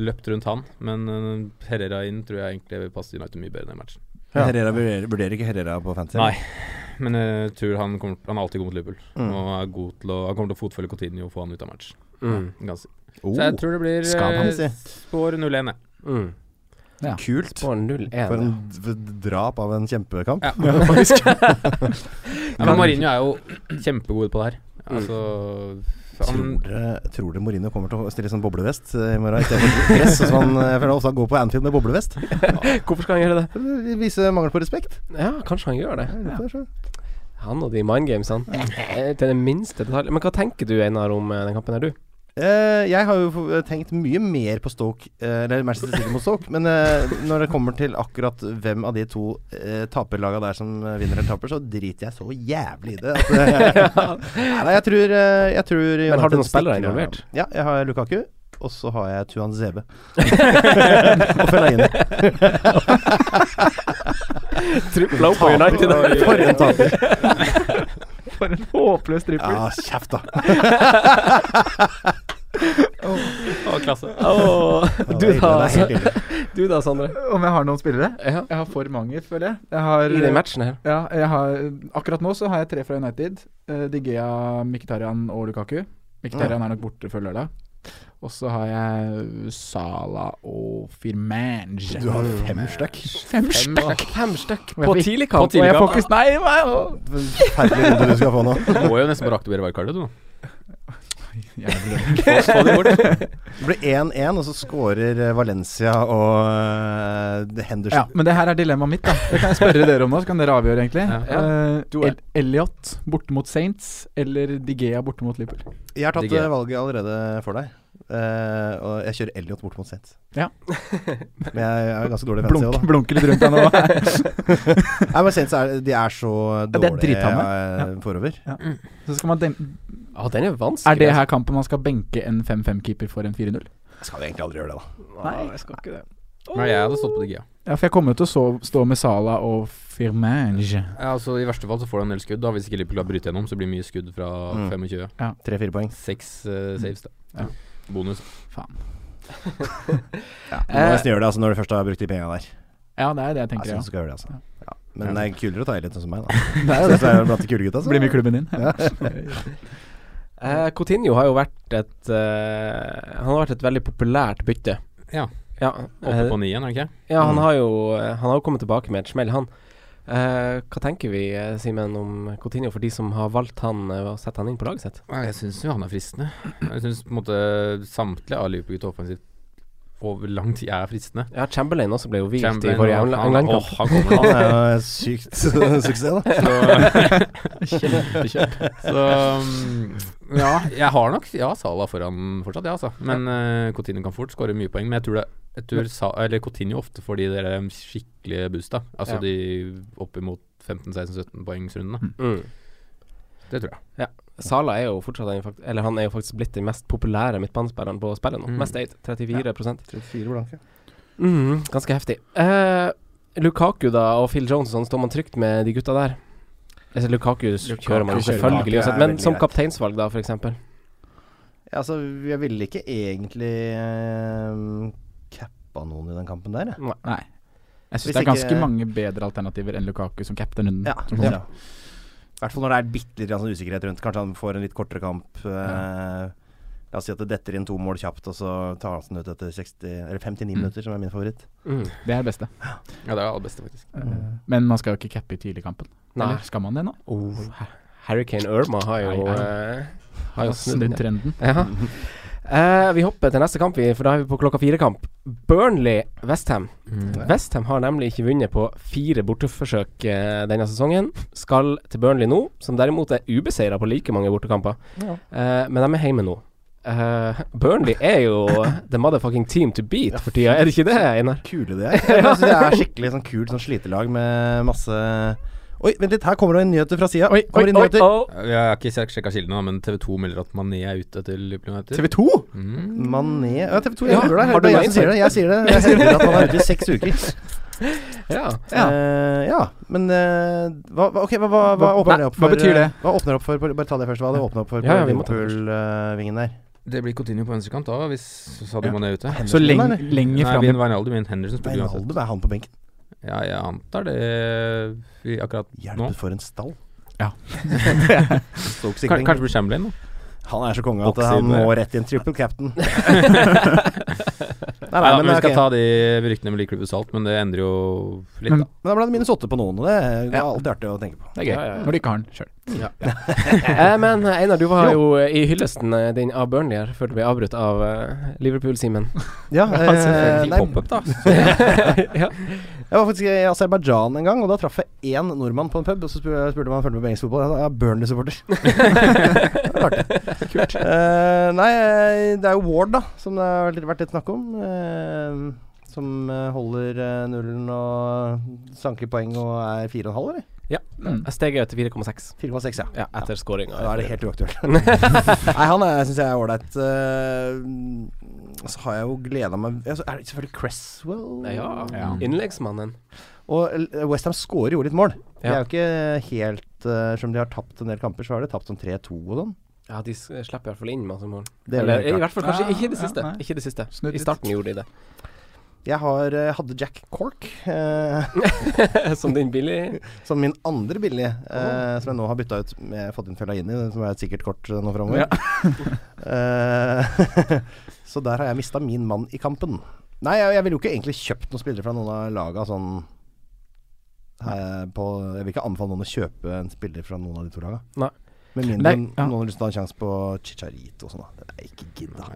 S2: løpt rundt han, men eh, Herrera inn tror jeg egentlig vil passe United mye bedre i den matchen.
S4: Ja. Herrera vurderer, vurderer ikke Herrera på fantasy.
S2: Nei, men jeg tror han, kommer, han er alltid god mot Liverpool.
S4: Mm.
S2: Og er god til å, han kommer til å fotfølge Coutinho og få han ut av match.
S3: Mm.
S2: Ganske.
S4: Oh,
S2: Så jeg tror det blir
S4: Skal han
S2: eh,
S4: si.
S2: spår 0-1, jeg.
S3: Mm.
S4: kult.
S3: På 0-1.
S4: For en d- drap av en kjempekamp.
S2: [laughs] Ja.
S4: Mm.
S2: Ja, men Mourinho er jo kjempegod på det her. Altså
S4: Tror dere, tror dere Mourinho kommer til å stille sånn boblevest eh, i morgen istedenfor dress? Sånn som han eh, for han ofte går på Anfield
S2: [laughs]
S4: med boblevest.
S3: eh? Hvorfor skal han gjøre det?
S4: Vise mangel på respekt.
S3: Ja, kanskje han gjør det.
S4: det er
S3: Han og de mind games, han. Eh, Til den minste detalj. Men hva tenker du, Einar, om eh, den kampen her, du?
S4: Eh, jeg har jo f- tenkt mye mer på Stoke, eh, eller Manchester City mot Stoke, men eh, når det kommer til akkurat hvem av de to eh, taperlaga der som eh, vinner eller taper, så driter jeg så jævlig i det. At, eh, nei, jeg tror, eh, jeg tror
S3: Men har du
S4: United
S3: noen spillere
S4: stikker av.
S3: involvert?
S4: Ja, jeg har Lukaku. Og så har jeg Tuan Zebe.
S3: [laughs]
S4: og Fellaini.
S3: Triple low på
S4: Taper.
S3: United.
S4: For en taper.
S3: For en håpløs trippel.
S4: Ja, Ah, kjeft, da.
S2: Å, klasse.
S3: Åh, du, altså-
S4: det er ille,
S3: da,
S4: det er helt ille.
S3: du da, Sondre.
S5: [laughs] Om jeg har noen spillere?
S3: Ja.
S5: Jeg har for mange, føler jeg. jeg har,
S3: I den matchen her.
S5: Ja, jeg har, akkurat nå så har jeg tre fra United. Uh, Digea, Mkhitaryan og Lukaku. Mkhitaryan er nok borte før lørdag. Og så har jeg Sala og Firmange.
S4: Du har fem stykk.
S5: Fem stykk!
S3: Fem stykk
S5: Og jeg
S3: på
S5: fikk-
S3: tidlig
S5: Og
S3: kamp.
S5: jeg får
S3: og jeg
S5: ikke Nei, hva-
S4: Forferdelig runde du skal få nå.
S3: [laughs]
S2: Du må jo nesten bare aktivere wildcardet, du.
S5: Jævlig.
S2: Få, få det bort.
S4: Det blir 1-1, og så scorer eh, Valencia og eh, Henderson.
S5: Ja, men det her er dilemmaet mitt, da. Det kan jeg spørre dere om nå, så kan dere avgjøre, egentlig. Eh,
S3: Du er-
S5: El Elliot borte mot Saints eller Digea borte mot Liverpool?
S4: Jeg har tatt
S2: Digger.
S4: eh, valget allerede for deg. Eh, og jeg kjører Elliot bort mot Saints.
S5: Ja.
S4: men jeg er jo ganske dårlig fancy òg,
S5: Blunk,
S4: da.
S5: blunke litt rundt deg nå.
S4: [laughs] Nei, men Saints er, de er så
S5: Ja, de er
S4: dårlige
S5: dritamme.
S4: eh, forover.
S5: Så skal man den
S3: Ja, den er vanskelig. altså.
S5: Er det her kampen man skal benke en 5-5-keeper for en 4-0?
S4: Skal vi egentlig aldri gjøre det, da.
S5: Nei,
S3: jeg skal ikke det.
S2: Nei, jeg hadde stått på Digia.
S5: Ja, for jeg kommer jo til å så, stå med Sala og Firmange.
S2: Ja, altså, I verste fall så får du en del skudd. da Hvis ikke Liverpool har brytt gjennom, så blir det mye skudd fra
S4: Mm.
S2: 25.
S4: Tre-fire poeng.
S2: Seks eh, saves, da.
S5: Ja.
S2: Bonus.
S5: Faen.
S4: Ja, du må nesten gjøre det altså, når du først har brukt de pengene der.
S5: Ja, det er det jeg
S4: Jeg
S5: Eh, tenker,
S4: synes du
S5: ja.
S4: skal gjøre det, altså.
S5: Ja.
S4: Ja. Men det er kulere å ta Elliot enn [laughs] som meg, da.
S5: [laughs]
S4: Synes jeg er blant de kule gutta. så.
S5: Blir med i klubben din. Ja.
S3: Eh, Coutinho har jo vært et eh, Han har vært et veldig populært bytte.
S2: Ja.
S3: Ja,
S2: Oppe
S3: eh,
S2: på nien, er det ikke?
S3: ja han,
S4: Mm.
S3: har jo, eh, han har jo kommet tilbake med et smell, han. Eh, hva tenker vi, eh, Simen, om Coutinho for de som har valgt han eh, og satt han inn på laget sitt?
S2: Nei, Jeg syns jo han er fristende. Jeg syns på en måte samtlige av Liverpool-gutta offensivt over lang tid er fristende.
S3: Ja, Chamberlain også ble jo hvilt i
S2: Chamberlain,
S3: forrige
S2: han- han-
S3: England-kamp.
S2: åh, han kommer [laughs] nå.
S4: Han er jo et sykt [laughs] suksess, da. [laughs]
S2: Kjempekjøp. Så mm, ja, jeg har nok ja, Sala foran fortsatt, ja, altså. Men eh, Coutinho kan fort skåre mye poeng. Men jeg tror, det, jeg tror Sa, eller Coutinho ofte får de der um, skikkelige boosta. Altså
S3: Ja.
S2: de oppimot 15-16-17 poengsrundene.
S3: Mm.
S2: Det tror jeg.
S3: Sala er jo fortsatt en, fakt- Eller han er jo faktisk blitt den mest populære midtbanespilleren på spillet nå.
S2: Mm.
S3: Mest eid, 34
S4: 34 blanke.
S3: mm, Ganske heftig. Eh, Lukaku da og Phil Jones og sånn, står man trygt med de gutta der? Altså, Lukaku, s-
S5: Lukaku
S3: kjører man jo
S5: kjører
S3: selvfølgelig
S4: Lukaku,
S3: uansett,
S4: ja,
S3: men
S4: veldig
S3: som
S4: greit.
S3: kapteinsvalg, da, for eksempel
S4: Ja, altså, jeg ville ikke egentlig eh, cappa noen i den kampen der, jeg.
S5: [laughs] Nei. Jeg
S4: Hvis
S5: syns det er ganske
S4: ikke-
S5: mange bedre alternativer enn Lukaku som cap'n hunden.
S4: Ja, sånn, ja. I hvert fall når det er bitte litt grann sånn usikkerhet rundt. Kanskje han får en litt kortere kamp. eh, La oss si at det detter inn to mål kjapt, og så tar han den ut etter 60, eller 59
S5: Mm.
S4: minutter, som er min favoritt.
S3: Mm.
S5: Det er det beste.
S2: Ja, det er det aller beste, faktisk.
S4: Mm.
S5: Eh, Men man skal jo ikke cappe i tidligkampen.
S3: Nei.
S5: Eller skal man det nå?
S3: Oh, Hurricane Irma har jo
S5: Nei,
S3: eh, Har jo snudd den.
S5: Snudd trenden.
S3: Ja. Eh, vi hopper til neste kamp, vi, for da er vi på klokka fire-kamp. Burnley-Westham. Westham har nemlig ikke vunnet på fire borteforsøk eh, denne sesongen. Skal til Burnley nå, som derimot er ubeseira på like mange bortekamper. Eh, men de er hjemme nå. Eh, Burnley er jo the motherfucking team to beat for tida, er det ikke det, Einar?
S4: Kule [laughs] de er. Jeg synes det er skikkelig sånn kult sånn slitelag med masse Oi, vent litt, her kommer det inn nyheter fra sida.
S3: Oi, oi, oi, oi.
S2: Jeg har ikke sjekka kildene, da, men TV2 melder at Mané er ute til Liverpool United.
S5: TV 2!
S2: Mm.
S4: Mané Ja, TV 2
S3: Ja,
S4: jeg hører deg.
S3: har du
S4: Det
S3: noe
S4: er jeg som sier det. Jeg sier det.
S3: [laughs]
S4: Jeg sier at han er ute i seks uker.
S3: Ja.
S4: Ja, ja men eh, hva, hva- ok, hva, hva, hva
S5: Hva-
S4: åpner det opp
S5: hva
S4: for?
S5: betyr det?
S4: eh, Hva åpner opp for på- Bare ta det først. Hva det åpner opp for på
S3: Ja, ja, vi må ta det
S4: Liverpool-vingen der?
S2: Det blir Coutinho på venstrekant da, hvis Sadio
S5: Ja.
S2: Mané er ute.
S5: Så
S4: Henderson,
S5: lenge,
S4: eller?
S5: lenger
S2: Nei,
S5: fram
S2: Vin Wijnaldum, Vin Henderson spiller uansett.
S4: Wijnaldum, er han på benken?
S2: Ja, jeg antar det eh, i akkurat nå.
S4: Hjelpet for en stall. [laughs]
S5: Ja.
S2: Kan-
S4: Stoke-sikring.
S2: Kanskje blir Chamberlain, da.
S4: Han er så konge at
S2: Boksing,
S4: han må
S2: ja.
S4: rett i en triple captain. Nei, nei,
S2: Ja,
S4: men eh,
S2: men vi skal
S4: ok.
S2: ta de ryktene med like klype salt, men det endrer jo litt,
S4: Men
S2: da.
S4: da ble det minus åtte på noen, og det er det er alltid artig å tenke på.
S5: Det er gøy.
S3: Ja, ja, ja.
S5: Når du ikke har den sjøl.
S4: Ja.
S3: Eh, Men eh, Einar, du var jo eh, i hyllesten eh, din av Burnley her før du ble avbrutt av eh, Liverpool-Simen.
S4: Ja, eh,
S2: selvfølgelig.
S4: nei,
S2: Pop-up, da.
S3: [laughs] ja.
S4: jeg var faktisk i Aserbajdsjan en gang, og da traff jeg én nordmann på en pub. Og så spurte spurte om han fulgte med på engelsk fotball. Jeg sa, Jeg er Burnley-supporter. Det var artig. Eh, nei, eh, det er jo Ward, da, som det har vært- vært litt snakk om. eh, som eh, holder eh, nullen og sanker poeng og er 4,5, eller?
S5: Mm.
S3: Jeg steg ut til 4,6
S4: 4,6, ja.
S3: ja, etter scoringa.
S4: Da er det helt
S3: [laughs]
S4: uaktuelt. Nei, han syns jeg er ålreit. Eh, så har jeg jo gleda meg ja, så Er det selvfølgelig Cresswell?
S3: Ja.
S5: Ja.
S3: Innleggsmannen.
S4: Og Westham scorer jo litt mål. De
S3: Ja.
S4: er jo ikke helt eh, Selv om de har tapt en del kamper, så har de tapt sånn 3-2 og sånn.
S3: Ja, de s- slipper i hvert fall inn masse mål.
S4: Det er
S3: Eller
S4: vel
S3: i
S4: klart.
S3: hvert fall kanskje
S5: Ja,
S3: ikke i det
S5: ja,
S3: siste.
S5: nei.
S3: ikke i det siste.
S5: Snudd
S3: I
S5: litt.
S3: starten gjorde de det.
S4: Jeg har, eh, hadde Jack Cork eh,
S3: [laughs] Som din billig
S4: som min andre billige, eh, som jeg nå har bytta ut med fått inn Fellaini, som er et sikkert kort eh, nå framover. [laughs] Eh, så der har jeg mista min mann i kampen. Nei, jeg, jeg ville jo ikke egentlig kjøpt noen spillere fra noen av laga sånn eh, på, Jeg vil ikke anbefale noen å kjøpe en spiller fra noen av de to laga.
S3: Nei.
S4: Med mindre
S5: Nei, ja.
S4: noen har lyst til å ha en sjanse på Chicharito og sånn. da. Det er ikke gidda.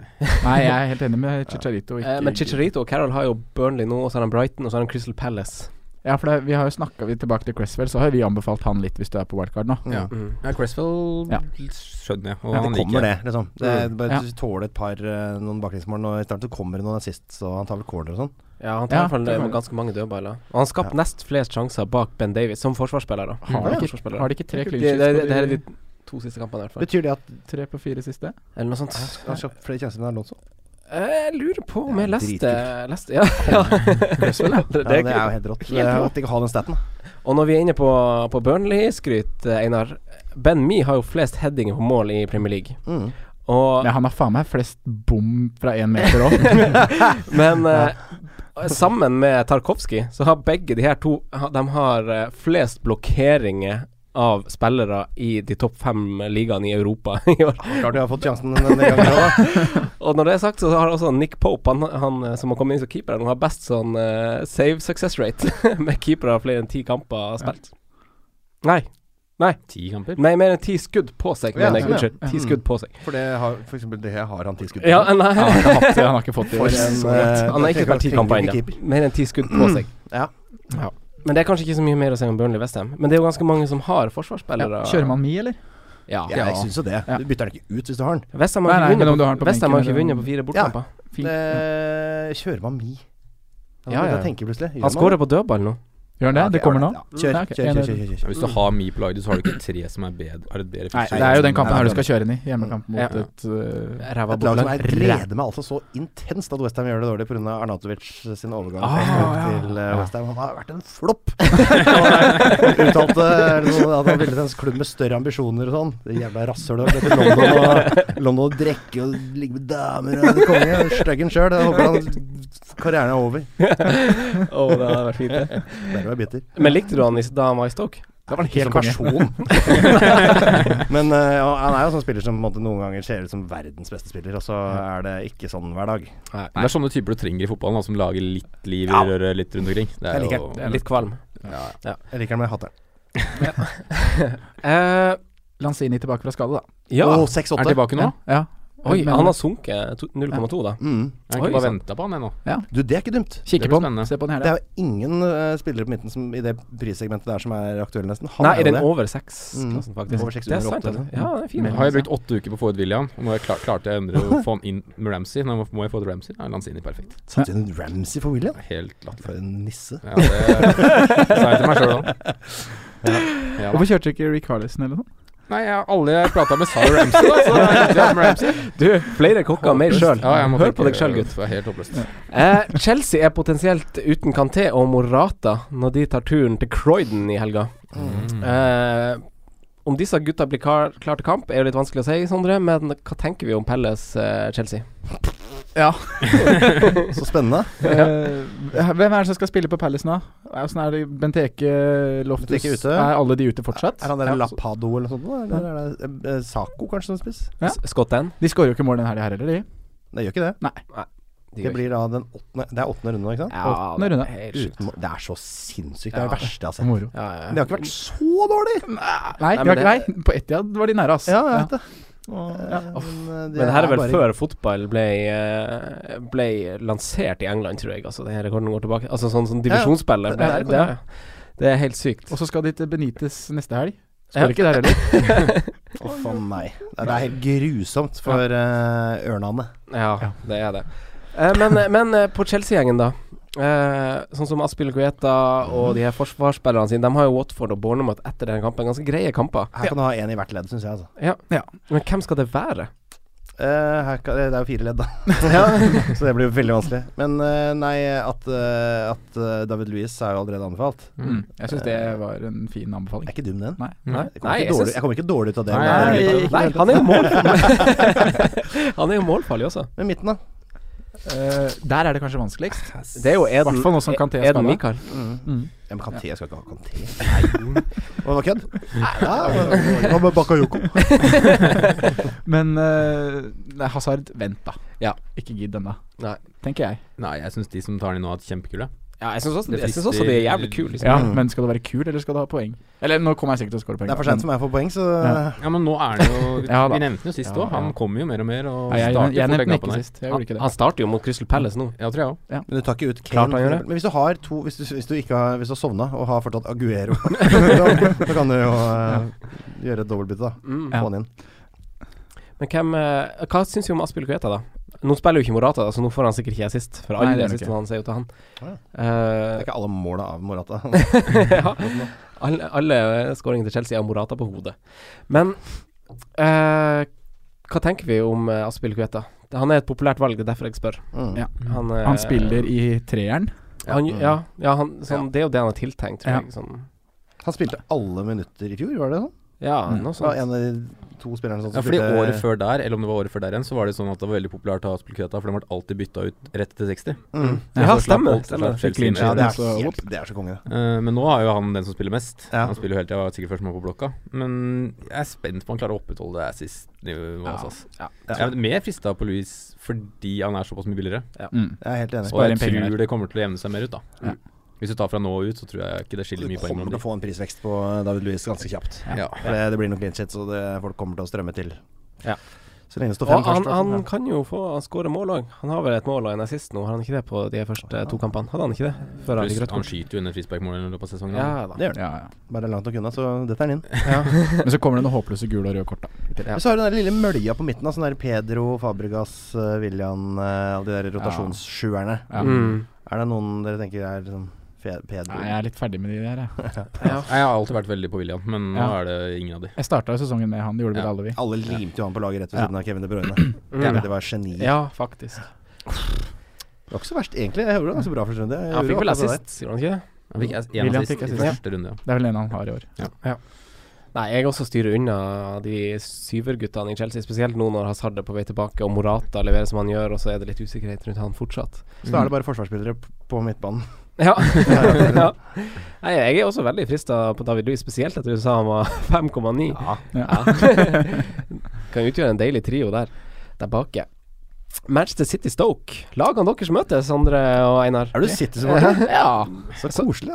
S5: Nei, jeg er helt enig med Chicharito. Ikke
S3: Eh, Men Chicharito og Carol har jo Burnley nå, og så har han Brighton, og så har han Crystal Palace.
S5: Ja, for det, vi har jo snakka tilbake til Cresswell, så har vi anbefalt han litt hvis du er på wildcard nå.
S2: Ja.
S3: Mm.
S2: Ja, Cresswell
S5: Ja.
S2: skjønner jeg. Og
S4: Ja,
S2: han
S4: det
S2: liker
S4: kommer,
S2: jeg.
S4: det. liksom det, er bare
S5: Ja.
S4: Du tåler et par eh, noen baklengsmål, og i starten så kommer det noen assist, så han tar vel corner og sånn.
S3: Ja, han tar i
S5: Ja,
S3: hvert fall
S5: det
S3: eh,
S5: var-
S3: ganske mange dødballer. Og han skapte nest flest sjanser bak Ben Davies, som forsvarsspiller, da.
S5: Har, de ikke,
S3: Forsvarsspiller.
S5: har de ikke tre
S3: det, det, det, her er de
S5: klinsjer?
S3: to siste kampene, i hvert fall.
S4: Betyr det at
S5: Tre på fire siste?
S3: Eller noe sånt. Eh,
S4: han har kjøpt flere tjenester enn Alonso?
S3: Jeg lurer på om jeg
S4: Det
S3: leste,
S4: er dritkult.
S3: leste Ja. [laughs] ja. det,
S4: Ja, det
S3: kult.
S4: er jo helt rått.
S3: Helt
S4: Jeg
S3: rå.
S4: måtte ikke ha den staten.
S3: Og når vi er inne på, på Burnley-skryt, eh, Einar Ben Mee har jo flest headinger på mål i Premier League.
S4: Mm.
S3: Og,
S5: Men han har faen meg flest bom fra én meter òg.
S3: [laughs] men eh, sammen med Tarkovskij så har begge de her to ha- De har eh, flest blokkeringer av spillere i de topp fem ligaene i Europa [laughs] i år.
S4: Klart jeg har fått sjansen denne gangen òg, da.
S3: Og når det er sagt, så har også Nick Pope, han, han eh, som har kommet inn som keeper, her nå, har best sånn eh, save success rate [laughs] med keepere av flere enn ti kamper spilt. Nei.
S2: Ti kamper.
S3: Nei, mer enn ti skudd på seg,
S4: Ja,
S3: mener jeg.
S4: ja,
S5: ja.
S3: Unnskyld. Ti skudd på seg.
S4: For det har for eksempel det har han tilskudd
S3: Ja, nei.
S5: Han, har ikke hatt det, han har ikke fått det.
S3: [laughs]
S4: For en, eh,
S3: Han har ikke vært ti kamper ennå.
S4: keeper.
S3: Mer enn ti skudd på seg.
S4: [clears throat] Ja.
S5: Ja.
S3: Men det er kanskje ikke så mye mer å si om Burnley Westham. Men det er jo ganske mange som har forsvarsspillere.
S5: Ja, kjører man mi, eller?
S3: Ja.
S4: Ja, jeg syns jo det.
S5: Ja.
S4: Du bytter den ikke ut hvis du har den.
S3: Westham har
S5: Nei, nei,
S3: ikke
S5: men om
S3: vunnet
S5: du har
S3: på,
S5: den på
S3: Westham har
S5: benken
S3: ikke
S4: eller-
S3: vunnet på fire bortekamper.
S5: Fint.
S4: Eh, kjører man mi? Ja,
S3: Ja, ja, ja.
S4: Jeg tenker plutselig. Gjør
S3: Han
S4: man
S3: skårer på dødball nå.
S5: Gjør han det?
S4: Ja, ok,
S5: Det kommer nå?
S4: ja. Kjør,
S5: Ja, ok.
S4: kjør, kjør. kjør, kjør,
S2: Ja,
S4: kjør.
S2: hvis du har mi på laget, så har du ikke tre som er bedre, har et bedre
S5: Nei,
S2: fysisk
S5: det er jo den kampen
S4: Nei,
S5: her du
S4: det-
S5: skal kjøre inn i. Hjemmekamp mot
S3: Ja.
S5: et øh,
S3: Ræva
S4: Et lag som
S3: bortelag.
S4: jeg gleder meg altså så intenst at Westham gjør det dårlig pga. Arnatovic sin overgang
S5: Ah, ja.
S4: til eh, West Ham Han har vært en flopp! [laughs] eh, Han uttalte liksom at han ville til en klubb med større ambisjoner og sånn. Det jævla rasshølet har gått til London og, London og drikke og ligge med damer og konge. Styggen sjøl. Jeg håper han karrieren er over.
S3: Åh, det hadde vært fint, det.
S4: Der var jeg bitter.
S3: Men likte du han i- da han var i Stoke?
S5: Det var en hel
S4: Som
S5: konge.
S4: person.
S5: [laughs]
S4: Men eh, ja, han er jo sånn spiller som på en måte noen ganger ser ut som verdens beste spiller, og så er det ikke sånn hver dag.
S2: Det er sånne typer du trenger i fotballen, da, som lager litt liv i
S4: Ja.
S2: røret litt rundt omkring. Det er
S4: Jeg liker
S2: jo
S3: Det er Litt kvalm.
S4: Jeg liker han, men jeg hater han.
S3: Eh,
S5: Lanzini tilbake fra skade, da.
S3: ja.
S4: Å,
S2: Er
S4: 6-8.
S2: han tilbake nå?
S5: Ja.
S3: Oi,
S5: Men-
S3: han har sunket to- 0,2, da.
S4: Mm.
S2: Jeg har
S3: Oi,
S2: ikke bare
S3: sant.
S2: venta på han ennå.
S4: Du, det er ikke
S2: Det
S4: dumt.
S5: Kikker
S2: blir
S5: på den.
S2: spennende.
S5: Se på den her,
S4: Det
S5: da.
S4: er jo ingen eh, spillere på midten som, i det prissegmentet der som er aktuelle, nesten. Han
S3: Nei,
S4: er
S3: er
S4: jo
S3: den
S4: det.
S3: over seks-klassen, faktisk?
S4: Over seks,
S3: det er
S4: under
S3: sant,
S4: åtte,
S3: det. Ja, det er fin.
S5: Men-
S2: Har jeg brukt åtte uker på å få ut William, og nå har jeg klar, klarte jeg å endre å få han inn med Ramsey. Nå må jeg få ut Ramsey. Da er Lanzini perfekt.
S4: Satt inn Ramsey for William.
S2: Helt latterlig.
S4: For en nisse.
S2: Ja, det sa jeg til meg sjøl òg. Ja.
S5: Hvorfor kjørte ikke Rick Harlison eller noe?
S2: Nei, jeg, alle jeg prata med, sa jo Ramsey, da. Så jeg endte opp med Ramsey.
S3: Du, flere kokker, mer sjøl.
S2: Ja, jeg må
S3: Hør
S2: tenke-
S3: på deg sjøl, gutt.
S2: Det er helt håpløst.
S3: Eh, Chelsea er potensielt uten Kanté og Morata når de tar turen til Croydon i helga.
S2: Mm.
S3: Eh, om disse gutta blir klar, klar til kamp, er jo litt vanskelig å si, Sondre, men hva tenker vi om Pelles eh, Chelsea?
S4: Så spennende.
S5: Eh, hvem er det som skal spille på Palace nå? Åssen er det Benteke, Loftus
S4: Benteke ute.
S5: Er alle de ute fortsatt?
S4: Er han der
S5: Ja,
S4: La
S5: så-
S4: Pado eller noe sånt? da? Eller er det eh, eh, Saco kanskje som spiss?
S5: Ja.
S3: S- Scott N?
S5: De skårer jo ikke mål denne her heller, de.
S4: Nei, gjør ikke det.
S3: Nei.
S4: Det blir da den åttende Det er åttende runde nå, ikke sant?
S3: Ja, Åttende runde. helt sjukt.
S4: Uten, det er så sinnssykt. Det er
S3: Ja.
S4: det verste jeg har sett.
S5: Moro.
S4: Men det har ikke vært så dårlig!
S5: Nei,
S4: Nei,
S5: vi har
S4: men
S5: ikke- nei på Etiad var de nære, ass.
S4: Ja, jeg vet det.
S5: Ja.
S4: Eh,
S3: Men
S4: men
S3: det her er vel
S4: bare-
S3: før fotball ble, eh, ble lansert i England, tror jeg. Altså, den her rekorden går tilbake. Altså sånn, sånn divisjonsspiller.
S5: Ja, ja.
S3: Det, det, det er helt sykt.
S5: Og så skal de til Benitez neste helg.
S3: Ja.
S5: Spiller ikke der heller.
S4: Å, faen meg. Det er helt grusomt for eh, ørnene.
S3: Ja, det er det. Eh, men, men eh, på Chelsea-gjengen, da. Eh, sånn som Aspil Guetta og de her forsvarsspillerne sine. De har jo Watford og Bournemouth etter den kampen. Ganske greie kamper.
S4: Her kan du ha én i hvert ledd, syns jeg. Altså.
S3: Ja. Men hvem skal det være?
S4: Eh, her kan, det er jo fire [laughs] ledd, da.
S3: Ja.
S4: så det blir jo veldig vanskelig. Men eh, nei, at, eh, at eh, David Louis er jo allerede anbefalt.
S5: Mm. Jeg
S4: Eh,
S5: syns det var en fin anbefaling.
S4: Er ikke dum, den.
S5: Nei.
S4: Jeg kommer,
S3: Nei,
S4: ikke
S3: jeg
S4: dårlig,
S3: syns-
S4: jeg kommer ikke dårlig ut av det.
S3: Nei,
S4: men det er
S3: nei,
S4: litt-
S3: nei, han er jo målfarlig. han er jo målfarlig også.
S4: Men midten, da?
S5: Eh, der er det kanskje vanskeligst.
S3: Det er jo
S5: I hvert fall nå som
S3: Eden,
S5: Kanté
S3: Eden
S5: skadet.
S3: Mikael.
S5: Mm.
S4: Ja, men Kanté skal ikke ha Kanté. Nei. Var det kødd? Ja, Hva med Bakayoko?
S5: Men eh, nei, Hazard, vent, da.
S3: Ja.
S5: Ikke gidd ennå,
S3: Nei.
S5: tenker jeg.
S2: Nei, jeg syns de som tar den nå, er kjempekule.
S3: Ja, jeg syns også,
S2: Det
S3: jeg synes også de er jævlig kule. Liksom.
S5: Ja,
S4: Mm.
S5: Men skal du være kul, eller skal du ha poeng? Eller nå kommer jeg sikkert til å score poeng.
S4: Det er for seint som jeg får poeng, så
S5: Ja.
S2: Ja, men nå er det jo
S3: [laughs]
S2: Vi,
S5: Ja, da.
S2: vi nevnte den jo sist òg.
S5: Ja, ja.
S2: Han kommer jo mer og mer og
S5: Nei, jeg, jeg,
S2: starter fort
S5: jeg
S2: den
S5: nevnte den
S2: kampen
S5: ikke
S2: her.
S5: sist. Jeg gjorde ikke det.
S3: Han starter jo mot Crystal Palace nå.
S2: Ja, tror jeg òg.
S4: Men du tar ikke ut
S3: Klart han gjør
S4: Kane.
S3: det.
S4: Men hvis du har to Hvis du, hvis du, ikke har, hvis du har sovna og har fortsatt [laughs] Aguero, da, da kan du jo eh, gjøre et dobbeltbytte, da.
S3: Mm.
S4: Få han inn.
S3: Men hvem eh, Hva syns vi om Aspil Kueta, da? Nå spiller jo ikke Morata, da, så nå får han sikkert ikke assist. For alle
S5: Nei, det er
S3: assistene hans er jo til han.
S4: Ja. Det
S3: Eh,
S4: er ikke alle måla av Morata.
S3: ja. Alle, alle skåringene til Chelsea har Morata på hodet. Men eh, hva tenker vi om eh, Aspil Kueta? Han er et populært valg, det er derfor jeg spør.
S4: Mm.
S5: Ja.
S3: Han, eh,
S5: Han spiller i treeren.
S3: han, ja, ja, han, sånn, Det er jo det han er tiltenkt, tror
S5: Ja.
S3: jeg. Sånn.
S4: Han spilte alle minutter i fjor, var det sånn?
S3: Ja,
S5: Mm.
S3: noe
S4: Det var
S3: sånt.
S4: en av de to spillerne som
S2: Ja, fordi året før der, eller om det var året før der igjen, så var det sånn at det var veldig populært å ha Aspelkveta, for de ble alltid bytta ut rett etter 60.
S4: mm.
S3: Ja,
S2: Så slapp
S3: stemmer.
S2: alt-
S3: stemmer.
S2: slapp Chelsea
S5: Clean
S2: med.
S4: Ja, det er,
S5: Så-
S4: helt, det er så konge, det.
S2: Eh, men nå er jo han den som spiller mest.
S4: Ja.
S2: Han spiller jo hele tida, var sikkert førstemann på blokka. Men jeg er spent på om han klarer å opprettholde det assist-nivået.
S5: Ja.
S2: Altså.
S3: Ja.
S2: Jeg er mer frista på Louis fordi han er såpass mye billigere.
S5: Mm.
S4: Jeg er helt enig.
S2: Og
S5: Spare
S2: jeg
S5: inn penger
S2: tror
S5: der.
S2: det kommer til å jevne seg mer ut, da. Mm.
S5: Ja.
S2: Hvis du tar fra nå og ut, så tror jeg ikke det skiller
S4: Du
S2: mye poeng
S4: kommer
S2: mellom
S4: til å
S2: dem.
S4: få en prisvekst på David Louis ganske kjapt.
S2: Ja.
S4: For det, det blir nok clean shit, så det, folk kommer til å strømme til.
S3: Ja.
S4: Så lenge det står
S3: Og
S4: fem
S3: han,
S4: først. da,
S3: han
S4: så-
S3: kan jo få Han skårer mål òg. Han har vel et mål og en assist nå, har han ikke det på de første to kampene? Hadde han ikke det? Før han
S2: Pluss
S3: fikk rødt
S2: han
S3: kort.
S2: skyter jo under frisparkmålet i løpet av sesongen.
S3: Ja da.
S4: Det gjør det.
S5: Ja, ja.
S4: Bare langt nok unna, så dette er den inn.
S5: Men så kommer det noen håpløse gule og røde kort, da.
S3: Ja.
S4: Så har du den der lille mølja på midten, da, sånn der Pedro, Fabregas, eh, William, eh, alle de der rotasjonssjuerne.
S5: Ja.
S3: Mm.
S4: Er det noen dere tenker er liksom Fe- Pedro
S5: Nei, jeg er litt ferdig med de der, jeg.
S3: Ja.
S2: Jeg har alltid vært veldig på William, men nå
S5: Ja.
S2: er det ingen av de.
S5: Jeg starta sesongen med han, det gjorde vel
S2: Ja.
S5: alle vi.
S4: Alle limte jo han på laget rett ved
S5: Ja.
S4: siden av Kevin De Bruyne.
S3: Mm.
S4: Det var geni.
S3: ja, faktisk.
S4: Det var ikke så verst, egentlig. Jeg gjorde det ganske bra første runde. Jeg
S3: Ja, han
S4: gjorde
S3: fikk vel
S4: akkurat det der.
S3: assist, sier han ikke det?
S2: Han fikk ass- en
S5: William
S2: assist
S5: fikk
S2: i
S5: assist, ja.
S2: første runde, ja.
S5: Det er vel en han har i år.
S3: Nei, jeg også styrer unna de syverguttene i Chelsea, spesielt nå når Hazard er på vei tilbake og Morata leverer som han gjør, og så er det litt usikkerhet rundt han fortsatt.
S4: Så da er det bare forsvarsspillere p- på midtbanen.
S3: Ja. [laughs] ja. Nei, jeg er også veldig frista på David Louis, spesielt etter at du sa han var [laughs] 5,9.
S5: Ja.
S3: [laughs] kan utgjøre en deilig trio der, der bake. Manchester City Stoke. Lagene deres møtes, Sondre og Einar.
S4: Er du City som var
S3: Ja.
S4: Så koselig. det.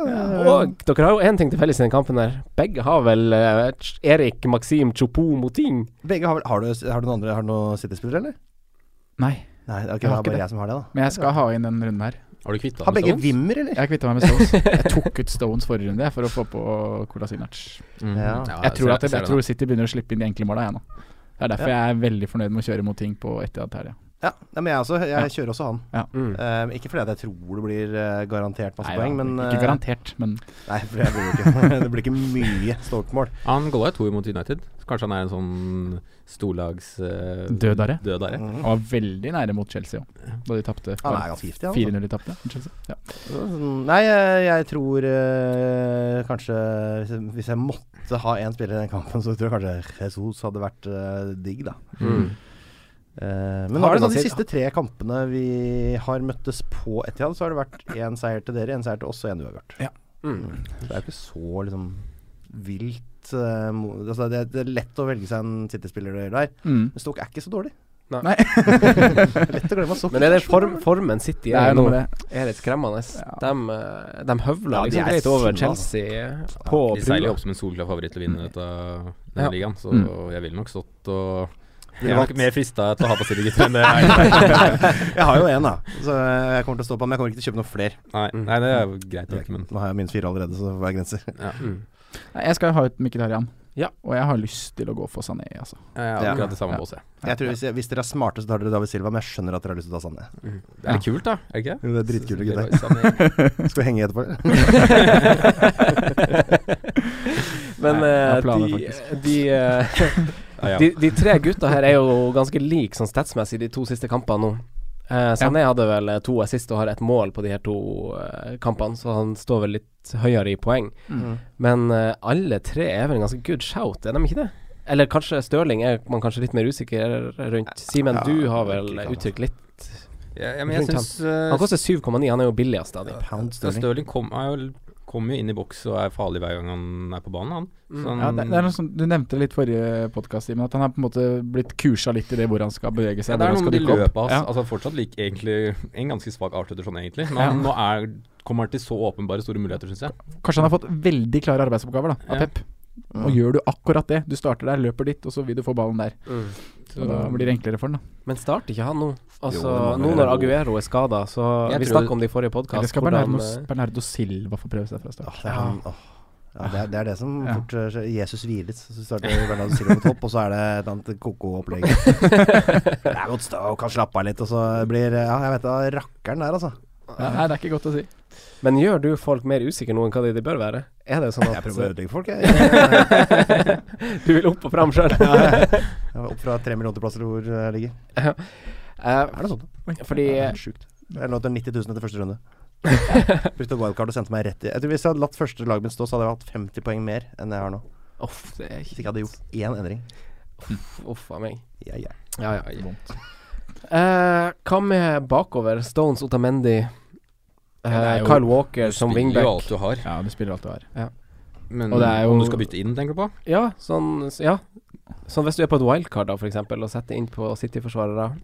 S3: Og dere har jo én ting til felles i den kampen der. Begge har vel eh, Ch- Erik Maxim Chopo Moting.
S4: Begge har, vel- har, du, har du noen andre Har du noen City-spillere, eller?
S5: Nei,
S4: Nei, ok, det
S5: Jeg har
S4: er
S5: ikke
S4: bare
S5: det.
S4: jeg som har det, da.
S5: men jeg skal ha inn den runden her.
S2: Har du kvitta
S4: Har
S2: med
S4: begge
S2: Stones?
S4: Wimmer, eller?
S5: Jeg kvitta meg med Stones. Jeg tok ut Stones forrige runde jeg, for å få på Kolasinac.
S2: Mhm.
S4: Ja.
S5: Mm. Jeg
S2: ser-
S5: tror, at jeg,
S2: ser
S5: jeg
S2: det
S5: tror City begynner å slippe inn de enkle måla, jeg nå. Det er derfor jeg er veldig fornøyd med å kjøre mot ting på Etiad her, ja.
S4: Ja, nei, men jeg, også, jeg kjører også han.
S3: Mm.
S4: Eh, ikke fordi at jeg tror det blir eh, garantert masse
S5: Nei,
S4: poeng, men
S5: Ikke
S4: eh,
S5: garantert, men
S4: Nei, for det blir jo ikke [laughs] Det blir ikke mye Stoke-mål.
S2: Han golla jo to imot United. Så Kanskje han er en sånn storlags eh,
S5: Dødare.
S2: dødare.
S5: han var veldig nære mot Chelsea òg, da de tapte.
S4: Han er ganske giftig, han. altså.
S5: 4-0 de tapte. mot Chelsea. Ja.
S4: Sånn, Nei, jeg, jeg tror eh, kanskje hvis jeg, hvis jeg måtte ha én spiller i den kampen, så tror jeg kanskje Jesus hadde vært eh, digg, da.
S3: Mm.
S4: Eh, men
S3: Har
S4: nå er det
S3: du
S4: sånn
S3: noe
S4: de
S3: til?
S4: siste tre kampene vi har møttes på Etiad, så har det vært én seier til dere, én seier til oss og én uavgjort.
S3: Mm.
S4: Så det er jo ikke så liksom vilt eh, mo- altså, det, det er lett å velge seg en City-spiller der.
S5: Mm.
S4: Men Stoke er ikke så dårlig. [laughs]
S5: Nei.
S4: Lett å glemme sokker.
S3: Men er det form, formen City
S5: Det
S3: er,
S5: er jo
S3: nå,
S5: noe med
S3: er litt skremmende. De, eh, de høvler
S5: Ja,
S3: liksom
S5: de er altså.
S3: greit over
S5: sinna,
S3: Chelsea eh,
S2: Ja,
S3: på
S2: De seiler
S3: brua.
S2: jo opp som en solklar favoritt til å vinne dette, denne
S3: Ja.
S2: ligaen, så
S5: Mm.
S2: jeg ville nok stått og
S4: Ville
S2: Jeg er nok
S4: valgt-
S2: mer frista til å ha på City, gutter, enn det [laughs] jeg er.
S4: jeg har jo én, da. Så jeg kommer til å stå på, men jeg kommer ikke til å kjøpe noen flere.
S2: Nei, nei, det er jo greit å vite, men
S4: Nå har jeg minst fire allerede, så hva er grenser?
S5: Nei, Jeg skal jo ha ut Mkhitaryan.
S3: Ja.
S5: Og jeg har lyst til å gå for Sané, altså.
S2: jeg er
S4: Ja.
S2: Eh, akkurat det samme
S5: Ja.
S2: båset.
S4: Jeg tror hvis, hvis dere er smarte, så tar dere David Silva, men jeg skjønner at dere har lyst til å ta Sanne.
S2: Det er litt kult, da. Er det ikke det?
S4: Jo, det er dritkule gutter.
S2: gutter.
S4: Skal vi henge etterpå? [laughs] eller?
S3: [laughs] Men
S5: Nei, jeg har
S3: eh,
S5: planer,
S3: de, de, eh,
S2: Ja, ja.
S3: de, de tre gutta her er jo ganske like sånn statsmessig de to siste kampene nå. Eh, Sané hadde vel eh, to assist og har ett mål på de her to eh, kampene, så han står vel litt høyere i poeng.
S5: Mm.
S4: Mm.
S3: Men eh, alle tre er vel en ganske good shout, er de ikke det? Eller kanskje Stirling er man kanskje litt mer usikker rundt. Simen,
S4: Ja,
S3: du har vel
S4: ikke sant.
S3: uttrykt litt
S2: Ja, ja, men jeg
S3: Rundt
S2: syns
S3: Han koster 7,9, han er jo billigst av de.
S4: Pound Sterling.
S2: Stirling kom- er jo- kommer jo inn i boks og er farlig hver gang han er på banen, han. Sånn- Så han
S5: Ja, det, det er noe som, du nevnte litt forrige podkast, Simen, at han har på en måte blitt kursa litt i det hvor han skal bevege
S2: Ja,
S5: seg.
S2: det er
S5: hvor han
S2: noe
S5: skal
S2: med de
S5: dukke opp.
S2: løpet hans.
S5: Ja.
S2: Altså fortsatt lik egentlig en ganske svak avslutter sånn egentlig, men han, nå er, kommer han til så åpenbare store muligheter, syns jeg.
S5: Kanskje han har fått veldig klare arbeidsoppgaver da, av
S2: Ja.
S5: Pep. Og gjør du akkurat det, du starter der, løper dit, og så vil du få ballen der.
S2: Mm.
S5: Så da blir det enklere for han da.
S3: Men starter ikke han nå? Altså,
S2: Jo, det
S3: nå
S2: må være
S3: når
S2: lov.
S3: Aguero er skada, så
S2: Jeg
S3: Vi
S2: tror-
S3: snakka om det i forrige eh,
S5: Eller
S3: podkast.
S5: skal Bernardo, Bernardo Silva få prøve seg fra start?
S4: Åh, det, er han, åh. Ja, det, er, det er det som
S5: Ja.
S4: fort eh, skjer. Jesus hvilet, så starter Bernardo Silva på topp, og så er det et annet koko-opplegg. det er godt stå og kan slappe av litt, og så blir eh, Ja, jeg vet da, rakkeren der, altså.
S5: Ja, nei, det er ikke godt å si.
S3: Men gjør du folk mer usikre nå enn hva de, de bør være? [laughs] Er det sånn
S4: Jeg
S3: at
S4: prøver å ødelegge folk, jeg. [laughs]
S3: du vil opp og fram
S5: [laughs]
S3: sjøl?
S4: Jeg var Opp fra tre millioner til plasser hvor eh, jeg ligger.
S3: Eh,
S4: Er det sånn?
S3: fordi
S4: Det er sjukt. Jeg lå til 90 000 etter første [laughs] runde. Brukte wildcard og sendte meg rett i Jeg tror Hvis jeg hadde latt første laget mitt stå, så hadde jeg hatt 50 poeng mer enn jeg har nå.
S3: Uff, det er
S4: Hvis ikke jeg hadde gjort én endring.
S3: Uff a meg.
S4: Ja, ja.
S3: Ja, ja. Eh, hva med bakover? Stones, Otamendi, eh,
S5: det er jo-
S3: Kyle Walker som
S5: Mm.
S2: Spiller jo alt
S3: wingback.
S2: du har.
S5: Ja, du spiller alt du har.
S2: Men
S5: Og det er jo-
S2: om du skal bytte inn, tenker du på?
S3: Ja, sånn Ja. Sånn hvis du er på et wildcard, da, for eksempel, og setter inn på City-forsvarere.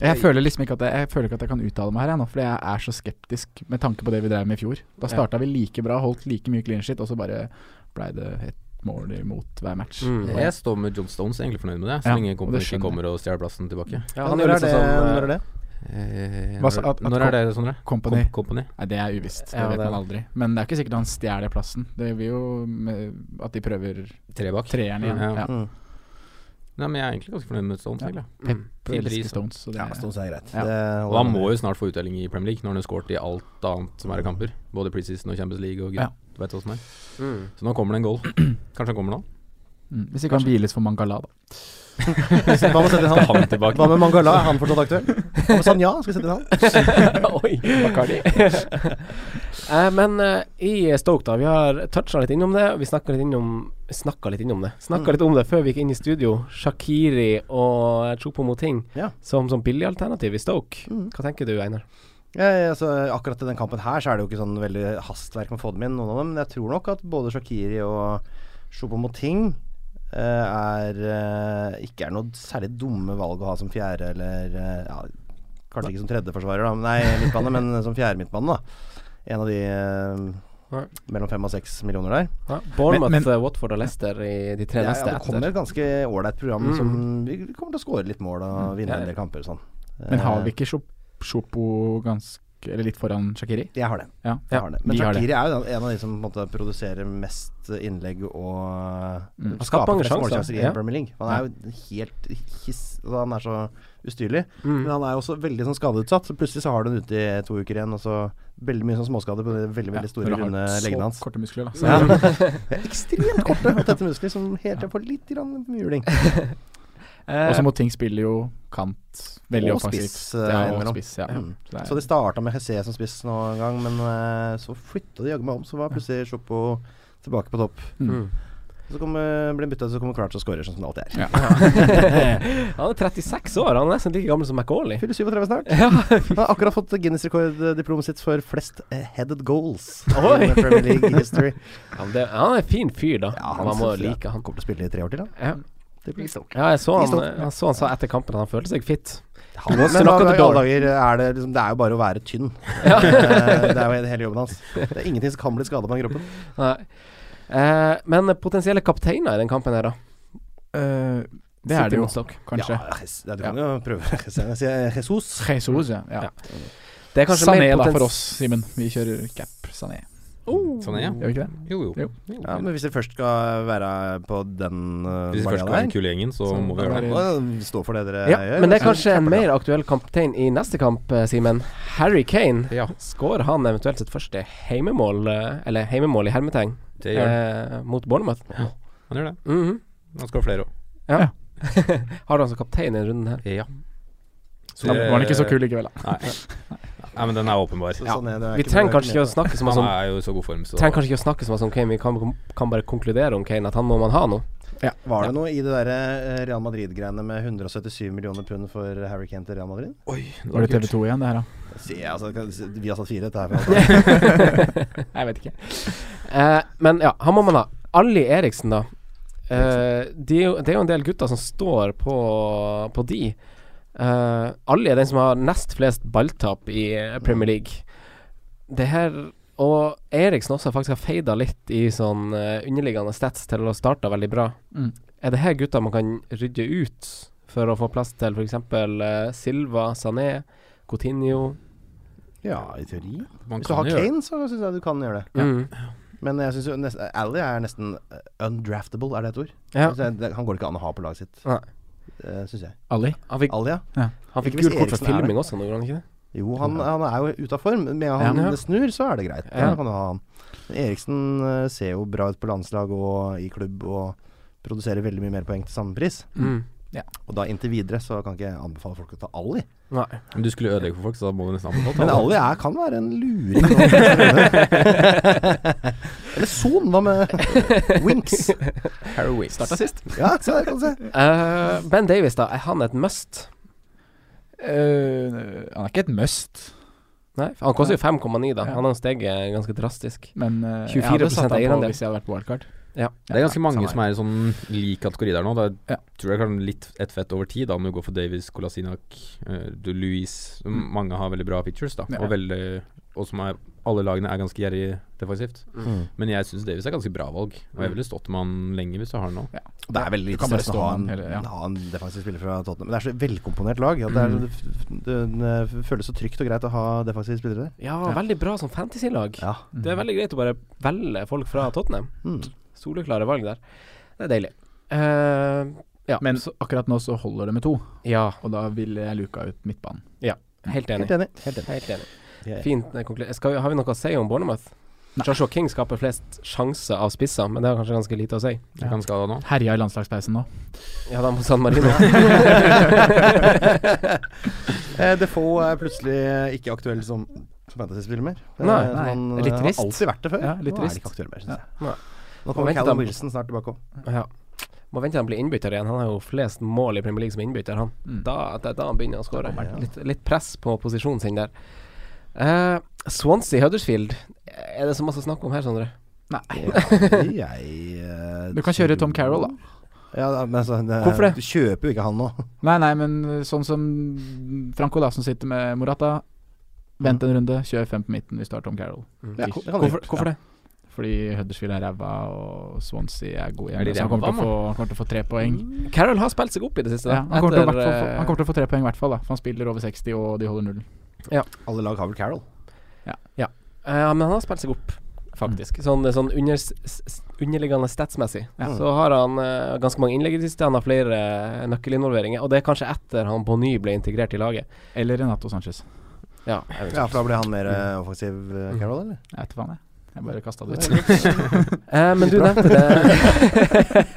S5: Jeg føler liksom ikke at jeg, jeg føler ikke at jeg kan uttale meg her, jeg nå, fordi jeg er så skeptisk med tanke på det vi drev med i fjor. Da starta vi like bra, holdt like mye clean shit, og så bare blei det et mål imot hver match.
S3: Mm.
S5: Og
S2: Jeg står med John Stones, jeg er egentlig fornøyd med det. Så
S5: Ja,
S2: lenge
S5: og det
S2: kommer, ikke
S5: skjønner
S2: kommer og stjeler plassen tilbake.
S3: Ja,
S4: Når, er det,
S3: eh,
S4: når er det?
S2: Eh,
S5: Hva sa-
S2: når-
S5: at- at
S2: når er det, Sondre?
S5: Company.
S2: Kom- Company.
S5: Nei, det er uvisst. Det
S3: Ja,
S5: vet
S3: det er
S5: man aldri. Men det er ikke sikkert han stjeler plassen. Det vil jo med at de prøver
S2: Tre bak.
S5: treeren igjen.
S2: Ja.
S5: Ja.
S4: Mm.
S2: Nei, men jeg er egentlig ganske fornøyd med Stones.
S5: Ja.
S2: egentlig.
S5: Pep
S2: Tidligere i Stones.
S5: elsker Stones. Så det,
S4: Ja, Stones er greit.
S5: Ja.
S4: Det
S2: Og han må jo snart få uttelling i Premier League, når han har scoret i alt annet som er av kamper. Både preseason og Champions League og gud
S5: Ja.
S2: du vet åssen det er.
S3: Mm.
S2: Så nå kommer det en
S5: [clears throat]
S2: goal. Kanskje han kommer nå?
S5: mm. Hvis ikke han hviles for Mangala, da.
S4: Hva med, å sette inn
S2: Skal
S4: han?
S2: han tilbake?
S4: Hva med Mangala? Er han fortsatt aktuell? Hva med Sanja? Skal vi sette inn han?
S3: Oi, Bacardi. eh, men eh, i Stoke, da. Vi har toucha litt innom det. og Vi snakka litt innom Snakka litt innom det Snakket litt om det før vi gikk inn i studio. Shakiri og Chopo Moting
S4: Ja.
S3: som, som billig alternativ i Stoke.
S4: Mm.
S3: Hva tenker du, Einar?
S4: Ja, ja, altså, akkurat i den kampen her så er det jo ikke sånn veldig hastverk med å få dem inn, noen av dem. Men jeg tror nok at både Shakiri og Choupo-Moting er eh, ikke er noe særlig dumme valg å ha som fjerde eller eh, ja, Kanskje ikke som tredjeforsvarer, da, men- nei, midtbane, men som fjerde midtbane, da. En av de eh,
S3: Ja.
S4: mellom fem og seks millioner der.
S3: Ja, Bournemouth,
S5: Men- men-
S3: eh, Watford og Leicester i de tre
S4: Ja, ja,
S3: neste
S4: det kommer
S3: etter.
S4: et ganske ålreit program
S3: Mm.
S4: som vi vi kommer til å skåre litt mål og vinne
S3: Ja, ja.
S4: en del kamper og sånn.
S5: Men har
S4: Eh,
S5: vi ikke Chop- Chopo ganske Eller litt foran Shakiri?
S4: Jeg har det.
S5: Ja.
S4: Jeg har det. Men
S5: vi har det.
S4: Shakiri er jo den- en av de som på en måte produserer mest innlegg og
S5: Mm.
S3: skaper
S4: og skaper
S3: mange
S4: flest
S3: sjanser,
S4: målsjanser i
S3: ja.
S4: Premier League. Han er jo helt hiss altså, Han er så ustyrlig.
S3: Mm.
S4: Men han er jo også veldig sånn skadeutsatt. Så plutselig så har du den ute i to uker igjen, og så veldig mye sånn småskader på de veldig veldig store,
S5: når du har
S4: runde
S5: så
S4: leggene hans.
S5: Korte muskler, da. Så [laughs]
S4: Ja. [laughs] Det er Ekstremt korte og tette muskler som hele tiden får litt grann juling.
S5: Og så må ting spille jo kant veldig
S4: eh, Og
S5: offensivt.
S4: spiss, eh,
S5: ja, og
S4: innimellom.
S5: spiss, ja.
S4: Mm.
S5: Så det er-
S4: Så de starta med Hesse som spiss nå en gang, men eh, så flytta de jaggu meg om. Så var plutselig Sjoppo tilbake på topp.
S5: Mm.
S4: Så kommer, blir han bytta, så kommer Crouch og scorer, sånn som det alltid [laughs] er.
S3: [laughs] Han er 36 år, han er nesten like gammel som McAuley.
S4: Fyller 37 snart. Han har akkurat fått Guinness rekorddiplomet sitt for flest eh, headed goals
S3: Oi.
S4: i Premier League history.
S3: Ja, men det- han er en fin fyr, da.
S4: Ja,
S3: Man må
S4: synes jeg
S3: like han.
S4: kommer til å spille i tre år til, han.
S3: Ja.
S4: til Plistoke.
S3: Ja, jeg så han,
S4: Plistoke.
S3: jeg så han sa etter kampen at han følte seg fit.
S4: Han, men hva i alle dager er det liksom Det er jo bare å være tynn.
S3: Ja.
S4: Eh, det er jo hele jobben hans. Det er ingenting som kan bli skada på den kroppen.
S3: Nei. Eh, men potensielle kapteiner i den kampen her, da?
S5: Eh, det er
S3: City
S5: det jo,
S3: mot Stoke.
S5: kanskje.
S4: Ja, jes- ja, du kan jo prøve Jeg sier Jesus.
S5: Jesus, ja. ja.
S3: Det er kanskje
S5: Sané,
S3: mer
S5: da,
S3: potens-
S5: for oss, Simen. Vi kjører cap Sané.
S2: Sånn er jeg.
S5: Gjør vi ikke det?
S2: Jo, jo.
S4: Ja, men hvis det først skal være på den uh,
S2: Hvis vi først skal være den kule gjengen, så
S5: Sånn
S2: må vi gjøre det.
S4: Stå for det dere
S3: Ja,
S4: gjør. altså.
S3: men det er
S4: så
S3: kanskje en
S4: capper det.
S3: mer aktuell kaptein i neste kamp, eh, Simen. Harry Kane.
S2: Ja.
S3: Skårer han eventuelt sitt første heimemål, eh, eller heimemål i hermetegn,
S2: Det gjør
S3: eh, mot Bournemouth?
S2: Han gjør det.
S3: Mhm.
S2: Han skal ha flere òg.
S3: ja. Har du han som kaptein i denne runden her?
S2: Ja.
S5: Så da var han ikke så kul likevel, da.
S2: Nei. [laughs] Nei, men den er åpenbar.
S4: Så sånn er det, det er
S3: Vi
S4: ikke
S3: trenger
S4: noe-
S3: kanskje ikke å snakke så mye om
S2: Han
S3: sånn-
S2: er jo i så god form, så
S3: Trenger kanskje ikke å snakke så mye om Kane, vi kan, kan bare konkludere om Kane at han må man ha nå.
S4: Var det noe i det der eh, Real Madrid-greiene med 177 millioner pund for Harry Kane til Real Madrid?
S2: Oi, det
S5: Var
S2: var
S5: det
S2: kult.
S5: TV2 igjen, det her, da?
S4: Si, altså, vi har satt fire, dette
S3: [laughs]
S4: er fra
S5: Jeg vet ikke.
S3: Eh, men ja, han må man ha. Ali Eriksen, da. Eh, de, er jo- det er jo en del gutter som står på, på de. Eh, Ali er den som har nest flest balltap i eh, Premier League. Det her Og Eriksen også faktisk har feida litt i sånn eh, underliggende stats til å starte veldig bra.
S5: Mm.
S3: Er det her gutter man kan rydde ut for å få plass til f.eks. Uh, Silva, Sané, Coutinho
S4: Ja, i teori.
S2: Man
S4: Hvis du
S2: kan
S4: har
S2: jo gjøre det.
S4: Kane, så syns jeg du kan gjøre det.
S3: Mm.
S4: Men jeg synes jo nesten Ally er nesten eh, undraftable, er det et ord?
S3: Ja.
S4: Altså, det- Han går ikke an å ha på laget sitt,
S3: Nei.
S4: uh, syns jeg.
S5: Ali?
S3: Han fikk,
S4: Ally, ja.
S3: han fikk
S4: Ikke hvis
S3: gult kort for
S4: Eriksen er det.
S3: filming også, nå gjorde han ikke det?
S4: Jo, han, han er jo ute av form. Med han
S3: Ja.
S4: snur, så er det greit.
S3: Ja.
S4: Da kan du ha han. Men Eriksen eh, ser jo bra ut på landslag og i klubb og produserer veldig mye mer poeng til samme pris.
S3: Mm.
S4: Og da inntil videre så kan ikke jeg anbefale folk å ta Ally.
S3: Nei.
S2: Men du skulle ødelegge for folk, så da må du nesten anbefale
S4: Men
S2: det.
S4: Ally er, kan være en luring.
S5: [laughs]
S4: Eller Son, hva med Winks?
S2: Harry Winks.
S5: sist.
S4: Ja, se der kan du se.
S3: Eh, ben Davies, da. Er han et must?
S5: Eh, han er ikke et must,
S3: Nei, for han koster jo 5,9, da.
S5: Ja.
S3: Han har steget ganske drastisk.
S5: men eh, jeg
S3: 24%
S5: hadde satt han på
S3: eierandel.
S5: hvis jeg hadde vært på wildcard.
S2: Det er ganske mange
S5: samme
S2: som er i sånn lik kategori der nå. Da
S5: Ja.
S2: tror jeg kanskje litt ett fett over tid, da, om du går for Davies, Kolasinac, eh, du Louise
S5: Mm.
S2: Mange har veldig bra pictures, da.
S5: Ja.
S2: Og, veldig, og som er Alle lagene er ganske gjerrig defensivt.
S4: Mm.
S2: Men jeg syns Davies er ganske bra valg. Og jeg ville stått med han lenge hvis du har han nå.
S4: Det er veldig
S5: Du
S4: lite
S5: kan bare
S4: stress å
S5: stå
S4: ha
S5: han
S4: en,
S5: hele- ja.
S4: ha en defensiv spiller fra Tottenham. Men det er så velkomponert lag. At det, er,
S5: Mm.
S4: det, det, det føles så trygt og greit å ha defensive spillere der.
S3: Ja, veldig bra som fantasy-lag.
S4: Ja.
S3: Det er veldig greit å bare velge folk fra Tottenham.
S4: Mm.
S3: Soleklare valg der. Det er deilig. Eh, ja.
S5: Men akkurat nå så holder det med to,
S3: ja,
S5: og da ville jeg luka ut midtbanen.
S3: helt enig.
S4: Helt enig. Helt enig.
S3: Helt enig.
S4: Jeg-
S3: Fint eh, konkludert. Skal, vi- har vi noe å si om Bournemouth? Joshua King skaper flest sjanser av spisser, men det har kanskje ganske lite å si.
S2: Jeg kan skade han nå.
S5: Herja i landslagspausen nå.
S3: Ja, da må San
S4: [laughs]
S3: Marino
S4: Eh, Defoe er plutselig ikke aktuell som som fantasy-spiller mer. Eh,
S3: Nei,
S4: som
S5: nei.
S4: Han eh,
S3: Litt trist.
S4: har alltid vært det før.
S5: Ja, litt
S4: Nå er
S5: trist.
S4: han ikke aktuell mer,
S5: Ja.
S4: syns jeg.
S3: Nei.
S4: Nå
S3: Må
S4: kommer
S3: vente
S4: Callum
S3: dem.
S4: Wilson snart tilbake òg.
S3: Ja. Må vente til han blir innbytter igjen. Han har jo flest mål i Premier League som innbytter, han.
S5: Mm.
S3: Da, det er da han begynner å skåre.
S4: kommer han.
S3: Litt, litt press på posisjonen sin der. Eh, Swansea Huddersfield, er det så masse å snakke om her, Sondre?
S5: Nei.
S4: [laughs] Du
S5: Du kan kjøre Tom Carroll, da.
S4: eh, Ja, da, men altså, det-
S3: Hvorfor det?
S4: Du kjøper jo ikke han nå.
S5: Nei, nei, men eh, sånn som Franco, da, som sitter med Morata. Vent
S3: Mm.
S5: en runde, kjør fem på midten hvis du har Tom Carroll.
S4: Ja, ko- det kan du
S3: hvorfor
S4: gjøre.
S3: hvorfor det?
S5: Fordi Huddersfield er ræva, og Swansea er gode
S2: Er de
S5: igjen. Så han kommer,
S2: ræva,
S5: til å få, han kommer til å få tre poeng.
S3: Carroll har spilt seg opp i det siste.
S5: Ja,
S3: da,
S5: han, kommer til å,
S3: etter,
S5: hvert fall få- han
S3: eh,
S5: kommer til å få tre poeng i hvert fall, da. For han spiller over 60, og de holder nullen.
S4: Alle lag har vel Carroll.
S3: eh, ja, men han har spilt seg opp, faktisk. Sånn, sånn under, s- s- underliggende statsmessig.
S5: Mm. Ja.
S3: Så har han eh, ganske mange innlegg i det siste. Han har flere eh, nøkkelinvolveringer. Og det er kanskje etter han på ny ble integrert i laget.
S5: Eller Renato Sanchez.
S3: Ja,
S4: Ja, for da blir han mer eh, offensiv, eh, Carroll, eller?
S5: Jeg vet faen, jeg. Jeg bare kasta det ut.
S3: Eh, men du nevnte det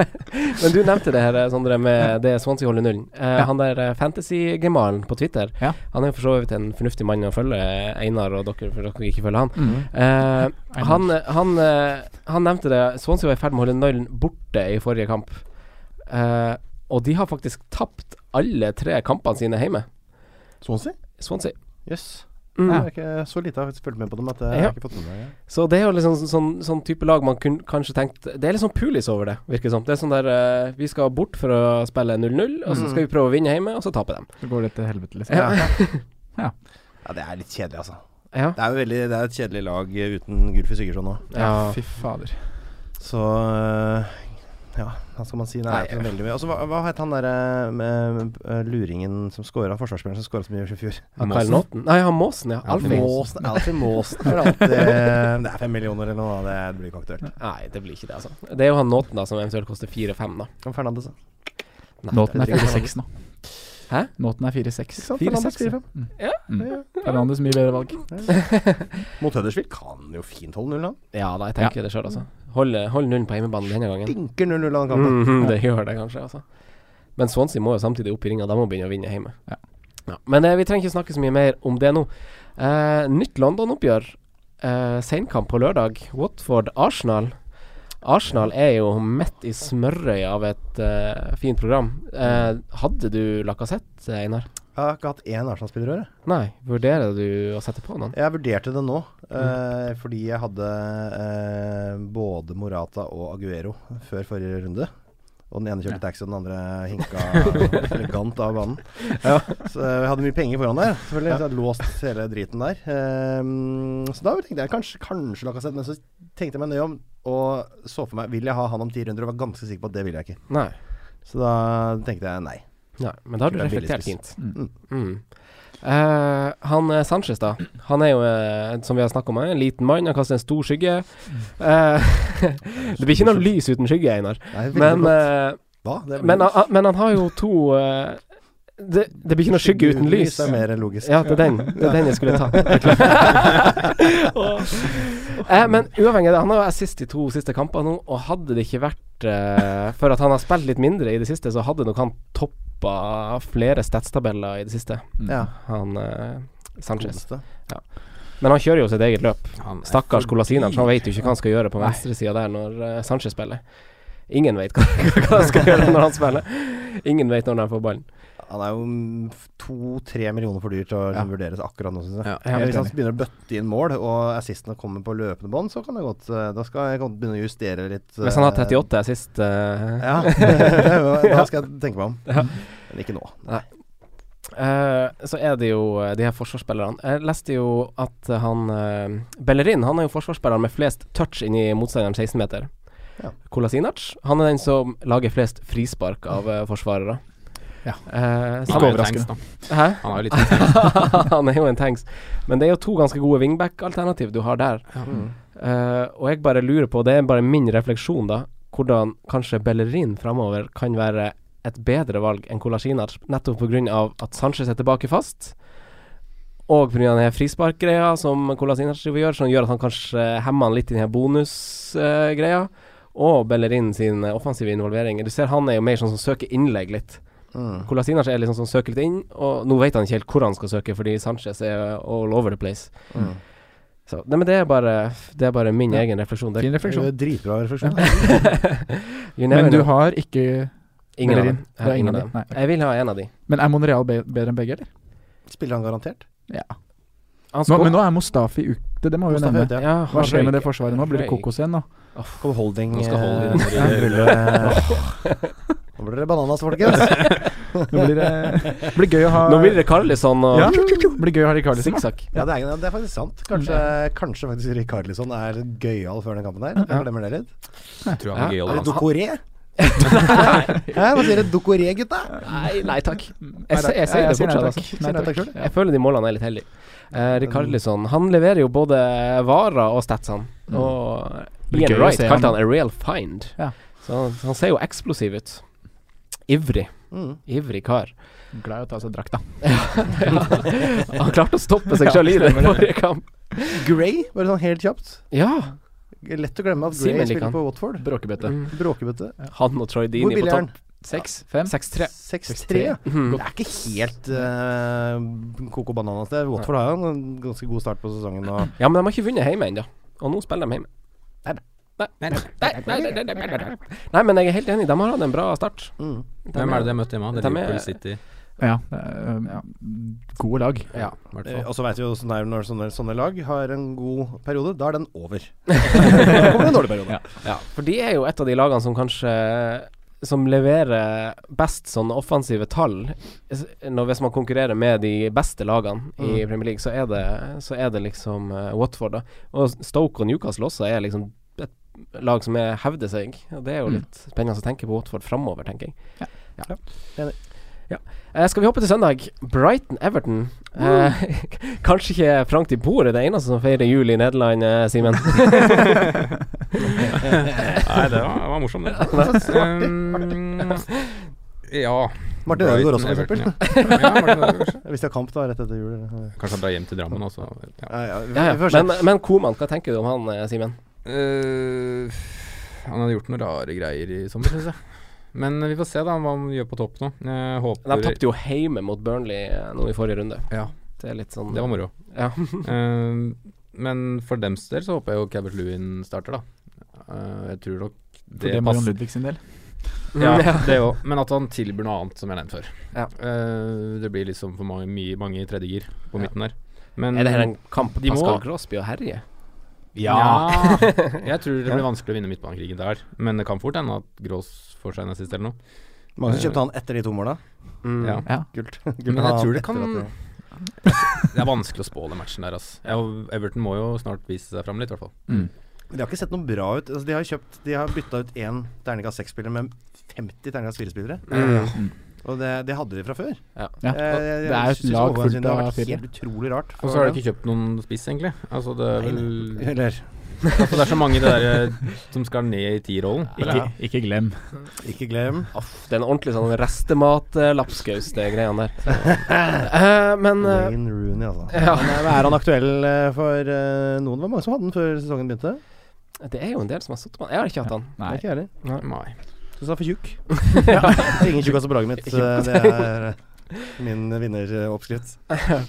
S3: Men du nevnte det her, Sondre, med det Swansea holder nullen. Eh, Han der eh, fantasy-gemalen på Twitter,
S5: Ja.
S3: han er jo for så vidt en fornuftig mann å følge, eh, Einar og dere, for dere ikke følger han.
S5: Mm.
S3: Eh, han, han, eh, han nevnte det. Swansea var i ferd med å holde nullen borte i forrige kamp. Eh, og de har faktisk tapt alle tre kampene sine hjemme.
S4: Swansea?
S3: Swansea.
S4: Jøss.
S3: Mm.
S4: Jeg har ikke så lite jeg har faktisk fulgt med på dem at eh, jeg
S3: Ja.
S4: har ikke fått med meg det.
S3: Så det er jo liksom sånn, sånn, sånn type lag man kunne kanskje tenkt Det er litt sånn pulis over det, virker det som. Det er sånn der eh, Vi skal bort for å spille 0-0, og så
S4: Mm.
S3: skal vi prøve å vinne hjemme, og så tape dem.
S5: Så går det til helvete, liksom.
S3: Mm. Ja.
S5: Ja.
S4: Ja, det er litt kjedelig, altså.
S3: Ja.
S4: Det er jo veldig, det er et kjedelig lag eh, uten Gylfi Sigurdsson nå.
S3: Ja.
S5: Fy fader.
S4: Så øh, ja, hva skal man si? Nei,
S3: Nei.
S4: det er veldig mye. Altså, hva, hva het han derre med øh, luringen som scora, forsvarsspilleren som scora så mye i fjor?
S3: Ja, Kyle Naughton. Nei, han Måsen, ja. Alfie.
S4: Måsen. Alfie Måsen er alltid Det er fem millioner eller noe, da. det blir ikke aktuelt.
S3: Nei, det blir ikke det, altså. Det er jo han Nåten da som eventuelt koster 4-5, da.
S4: Og Fernandes, da.
S3: Nei,
S5: Nåten er
S3: det-
S5: 4-6 nå.
S3: Hæ?
S5: Nåten er
S4: Ikke
S5: 4-6.
S4: sant?
S3: 4-6,
S4: Fernandes 4-5.
S5: Fernandes mye bedre valg.
S4: Mot Huddersfield kan jo fint holde 0 han.
S3: Ja da, jeg tenker det sjøl, altså. Hold, hold nullen på hjemmebane denne gangen.
S4: Dinker 0-0 han kampen.
S3: Mhm, det gjør det kanskje, altså. Men Swansea må jo samtidig opp i ringa. De må begynne å vinne hjemme.
S5: Ja.
S3: Ja. Men eh, vi trenger ikke snakke så mye mer om det nå. Eh, nytt London-oppgjør. Eh, Senkamp på lørdag. Watford-Arsenal. Arsenal er jo midt i smørøyet av et eh, fint program. Eh, hadde du Lacassette, Einar?
S4: Jeg har ikke hatt én Arsenal-spiller i år. jeg.
S3: Nei, vurderer du å sette på noen?
S4: Jeg vurderte det nå, eh, fordi jeg hadde eh, både Morata og Aguero før forrige runde. Og den ene kjørte taxi, og den andre [laughs] hinka elegant av banen. Så jeg hadde mye penger foran der, selvfølgelig. Så jeg hadde låst hele driten der. Ehm, så da tenkte jeg kanskje, kanskje Lacassette, men så tenkte jeg meg nøye om og så for meg Vil jeg ha han om ti runder? Og var ganske sikker på at det vil jeg ikke.
S3: Nei.
S4: Så da tenkte jeg nei.
S3: Nei, men da har du
S4: Det er billig
S3: reflektert
S4: spiss.
S3: fint. Mm. Eh, han eh, Sanchez, da. Han er jo, eh, som vi har snakka om, her, en liten mann. Han kaster en stor skygge.
S4: Mm.
S3: Eh, [laughs] det blir ikke noe lys uten skygge, Einar.
S4: nei veldig
S3: Men,
S4: godt.
S3: eh,
S4: Hva? Det blir-
S3: men, han- han- men han har jo to eh, det, det blir ikke noe skygge uten lys.
S4: er mer logisk.
S3: Ja, det er den, det er den jeg skulle ta. [laughs] eh, men uavhengig av det, han har jo assist i to siste kamper nå, og hadde det ikke vært eh, for at han har spilt litt mindre i det siste, så hadde nok han toppa flere statstabeller i det siste,
S4: Ja.
S3: han eh, Sanchez.
S4: Godeste.
S3: Men han kjører jo sitt eget løp.
S2: Han er
S3: Stakkars Colasinac, han vet jo ikke hva han skal gjøre på
S5: Nei.
S3: venstresida der når eh, Sanchez spiller. Ingen vet [laughs] hva, hva han skal gjøre når han spiller. Ingen vet når han får ballen.
S4: Han er jo to-tre millioner for dyr til å liksom vurderes akkurat nå, syns jeg.
S2: Ja,
S3: helt
S4: Men hvis han
S5: enig.
S4: begynner å bøtte inn mål, og assistene kommer på løpende bånd, så kan det godt eh, Da skal jeg godt begynne å justere litt. eh,
S3: Hvis han har 38 sist eh, [laughs]
S4: Ja, [laughs] det er jo- da skal jeg tenke meg om. Men ikke nå.
S3: Eh, så er det jo eh, de her forsvarsspillerne. Jeg leste jo at eh, han eh, Bellerin han er jo forsvarsspilleren med flest touch inni motstanderen 16-meter.
S4: Ja.
S3: Kolasinac han er den som lager flest frispark av eh, forsvarere.
S5: Ja.
S3: Eh,
S2: Han er jo
S3: samme-
S2: tanks, da.
S3: Hæ?
S2: Han er jo litt
S3: [laughs] han er jo en tanks. Men det er jo to ganske gode wingback-alternativ du har der. Eh, og jeg bare lurer på, det er bare min refleksjon da, hvordan kanskje Bellerin framover kan være et bedre valg enn Kolasinac, nettopp pga. at Sanchez er tilbake fast. Og pga. den her frisparkgreia som Kolasinac driver og gjør, som gjør at han kanskje hemmer han litt i den her bonusgreia. og Bellerin sin eh, offensive involvering. Du ser han er jo mer sånn som søker innlegg litt.
S4: Mm.
S3: Kolasinac er liksom som søker litt inn, og nå vet han ikke helt hvor han skal søke, fordi Sanchez er all over the place.
S4: Mm.
S3: Så, nei, men det er bare, det er bare min
S5: Ja.
S3: egen refleksjon. Det,
S5: Fin refleksjon.
S4: Det er Dritbra refleksjon.
S3: you never
S5: Men du
S3: know.
S5: har ikke
S3: ingen av
S5: Bellerin.
S3: dem. Jeg, har ingen av dem.
S5: Nei.
S3: jeg vil ha en av de.
S5: Men er Monreal be bedre enn begge, eller?
S4: Spiller han garantert?
S5: Ja.
S3: Han
S5: Nå,
S3: skår-
S5: men nå er Mustafi ute, det må vi jo
S4: Mustafa
S5: nevne.
S4: vet jeg.
S3: ja,
S5: Hva
S3: han
S5: skjer med det
S3: røyker.
S5: forsvaret nå? Blir det
S3: Røyk.
S5: kokos igjen nå?
S4: Kommer holding
S2: Nå skal holding
S4: eh,
S3: [laughs]
S4: Nå blir det bananas, folkens.
S5: Nå blir det blir gøy å ha
S3: Nå blir det Carlisson og
S5: ja, blir gøy å ha Rikarlison. da.
S3: sikksakk.
S4: Ja, det er, det er faktisk sant. Kanskje, kanskje faktisk Rikarlisson er gøyal før den kampen der. Jeg glemmer det litt.
S2: Jeg tror han er
S4: Er det
S2: gøyal.
S4: Dokoré? [laughs] Hæ, Hva sier det? Dokoré, gutta?
S3: Nei, nei takk.
S5: Nei,
S3: Jeg,
S5: takk.
S3: se- jeg sier det
S5: nei
S3: fortsatt.
S5: takk.
S3: altså.
S4: Sier
S5: Nei,
S4: nei
S5: takk.
S4: takk selv.
S3: Jeg føler de målene er litt heldige. Eh, Rikarlisson han leverer jo både varer og statsene.
S5: Mm.
S3: Og
S5: Blir
S3: Ian
S5: gøy å
S3: Wright
S5: se
S3: kalte
S5: han.
S3: han a real find.
S5: Ja.
S3: Så han, han ser jo eksplosiv ut. Ivrig.
S4: Mm.
S3: Ivrig kar.
S5: Glad i å ta av seg drakta.
S3: Han klarte å stoppe seg sjøl i den forrige kamp.
S4: Gray, bare sånn helt kjapt.
S3: Ja.
S4: Lett å glemme at
S3: Simen
S4: Gray
S3: liker
S4: spiller
S3: han.
S4: på Watford.
S5: Bråkebøtte.
S3: Mm.
S4: Bråkebøtte.
S3: Han og Troy
S4: Hvor
S3: Dini på
S4: billig er han?
S3: topp.
S5: Seks? Fem?
S3: 6-3.
S4: 6-3. ja.
S3: Mhm.
S4: Det er ikke helt uh, koko bananas, det. Watford har jo en ganske god start på sesongen. Og
S3: Ja, men de har ikke vunnet hjemme ennå. Og nå spiller de hjemme.
S4: Nei,
S3: Nei, nei, nei, nei, nei, nei, nei, nei, nei. Nei, men jeg er helt enig. De har hatt en bra start.
S4: Mm.
S3: De
S2: Hvem er det de har møtt hjemme? Det
S3: De
S2: er
S3: er-
S2: Liverpool City.
S5: Ja, det er, eh, Gode lag.
S4: Ja,
S5: i hvert fall.
S4: [laughs] Eh, Og så vet vi jo sånn her når sånne, sånne lag har en god periode, da er den over. Da kommer en dårlig periode.
S3: Ja, for de er jo et av de lagene som kanskje som leverer best sånne offensive tall. S- Når, hvis man konkurrerer med de beste lagene i
S4: Mm.
S3: Premier League, så er det, så er det liksom eh, Watford, da. Og Stoke og Newcastle også er liksom et lag som er, hevder seg. Og det er jo
S5: Mm.
S3: litt spennende å tenke på Watford framover, tenker jeg. Ja.
S4: Enig.
S3: Ja. Eh, skal vi hoppe til søndag? Brighton-Everton. Eh, [laughs] kanskje ikke Frank de Boer er det eneste som feirer jul i Nederland, eh, Simen?
S2: Nei, det var, var morsomt, det. Um, ja
S4: Martin Ødegaard også, for
S2: Brighton,
S4: eksempel.
S2: Everton, ja. Ja, Martin Ødegaard.
S4: Hvis det er kamp da, rett etter jul. eller?
S2: Kanskje han drar hjem til Drammen også.
S4: Ja, ja, vi-
S3: Ja,
S4: vi
S3: ja.
S4: får se.
S3: Men, men Koman, hva tenker du om han, eh, Simen?
S2: Eh, han hadde gjort noen rare greier i sommer, syns jeg. Men vi får se da hva han gjør på topp nå. Jeg håper
S3: De tapte jo hjemme mot Burnley eh, nå i forrige runde.
S2: Ja.
S3: Det er litt sånn
S2: Det var moro.
S3: Ja.
S2: Eh, men for dems del så håper jeg jo Cabert Lewin starter, da. Eh, jeg tror nok
S5: For det er Marion Ludvig sin del.
S2: Ja,
S3: Ja.
S2: det òg. Men at han tilbyr noe annet, som jeg nevnte før.
S3: Ja.
S2: Eh, det blir liksom for mange, mye, mange i tredje gir på
S3: Ja.
S2: midten der. Men
S3: Er det her en kamp
S2: de må-
S3: Pascal Crosby og herje?
S2: Ja! [laughs] jeg tror det blir vanskelig å vinne midtbanekrigen der. Men det kan fort hende at Grås får seg nazist eller noe.
S4: Mange som kjøpte han etter de to måla.
S3: Mm.
S2: [laughs] Ja.
S5: Ja.
S4: Kult.
S2: Men jeg tror det
S4: Etter
S2: kan
S4: at det-
S2: Det er vanskelig å spå den matchen der, altså. Ja, og Everton må jo snart vise seg fram litt, i hvert fall.
S5: Mm.
S4: Men De har ikke sett noe bra ut. Altså, de har kjøpt De har bytta ut én terningkast seks-spiller med 50 terningkast fire-spillere. Og det, det hadde de fra før.
S5: Ja.
S4: Eh, jeg-
S5: Det
S4: jeg
S5: er jo et
S4: synes
S5: lag
S4: overgangen sin,
S5: fullt
S4: Det
S5: av
S4: har vært
S5: fyr.
S4: helt utrolig rart.
S2: Og så har de ikke kjøpt noen spiss, egentlig. Altså, det er
S4: Nei,
S2: vel
S4: Eller
S2: [laughs] altså, Det er så mange det der eh, som skal ned i tierrollen.
S5: Ikke, ikke glem.
S4: Ikke glem.
S3: Aff, det er en ordentlig sånn restemat-lapskaus, det greiene der. [laughs] Eh, men eh,
S4: Wayne Rooney, altså.
S3: Ja.
S4: Men, eh, er han aktuell eh, for eh, noen? Det var mange som hadde den før sesongen begynte.
S3: det er jo en del som har sittet på han. Jeg har ikke hatt han.
S5: Nei.
S4: Det er ikke jeg heller.
S2: Nei.
S4: Syns han er for tjukk. Det er Ingen tjukkas på laget mitt. eh, Det er eh, min vinneroppskrift.
S3: Eh,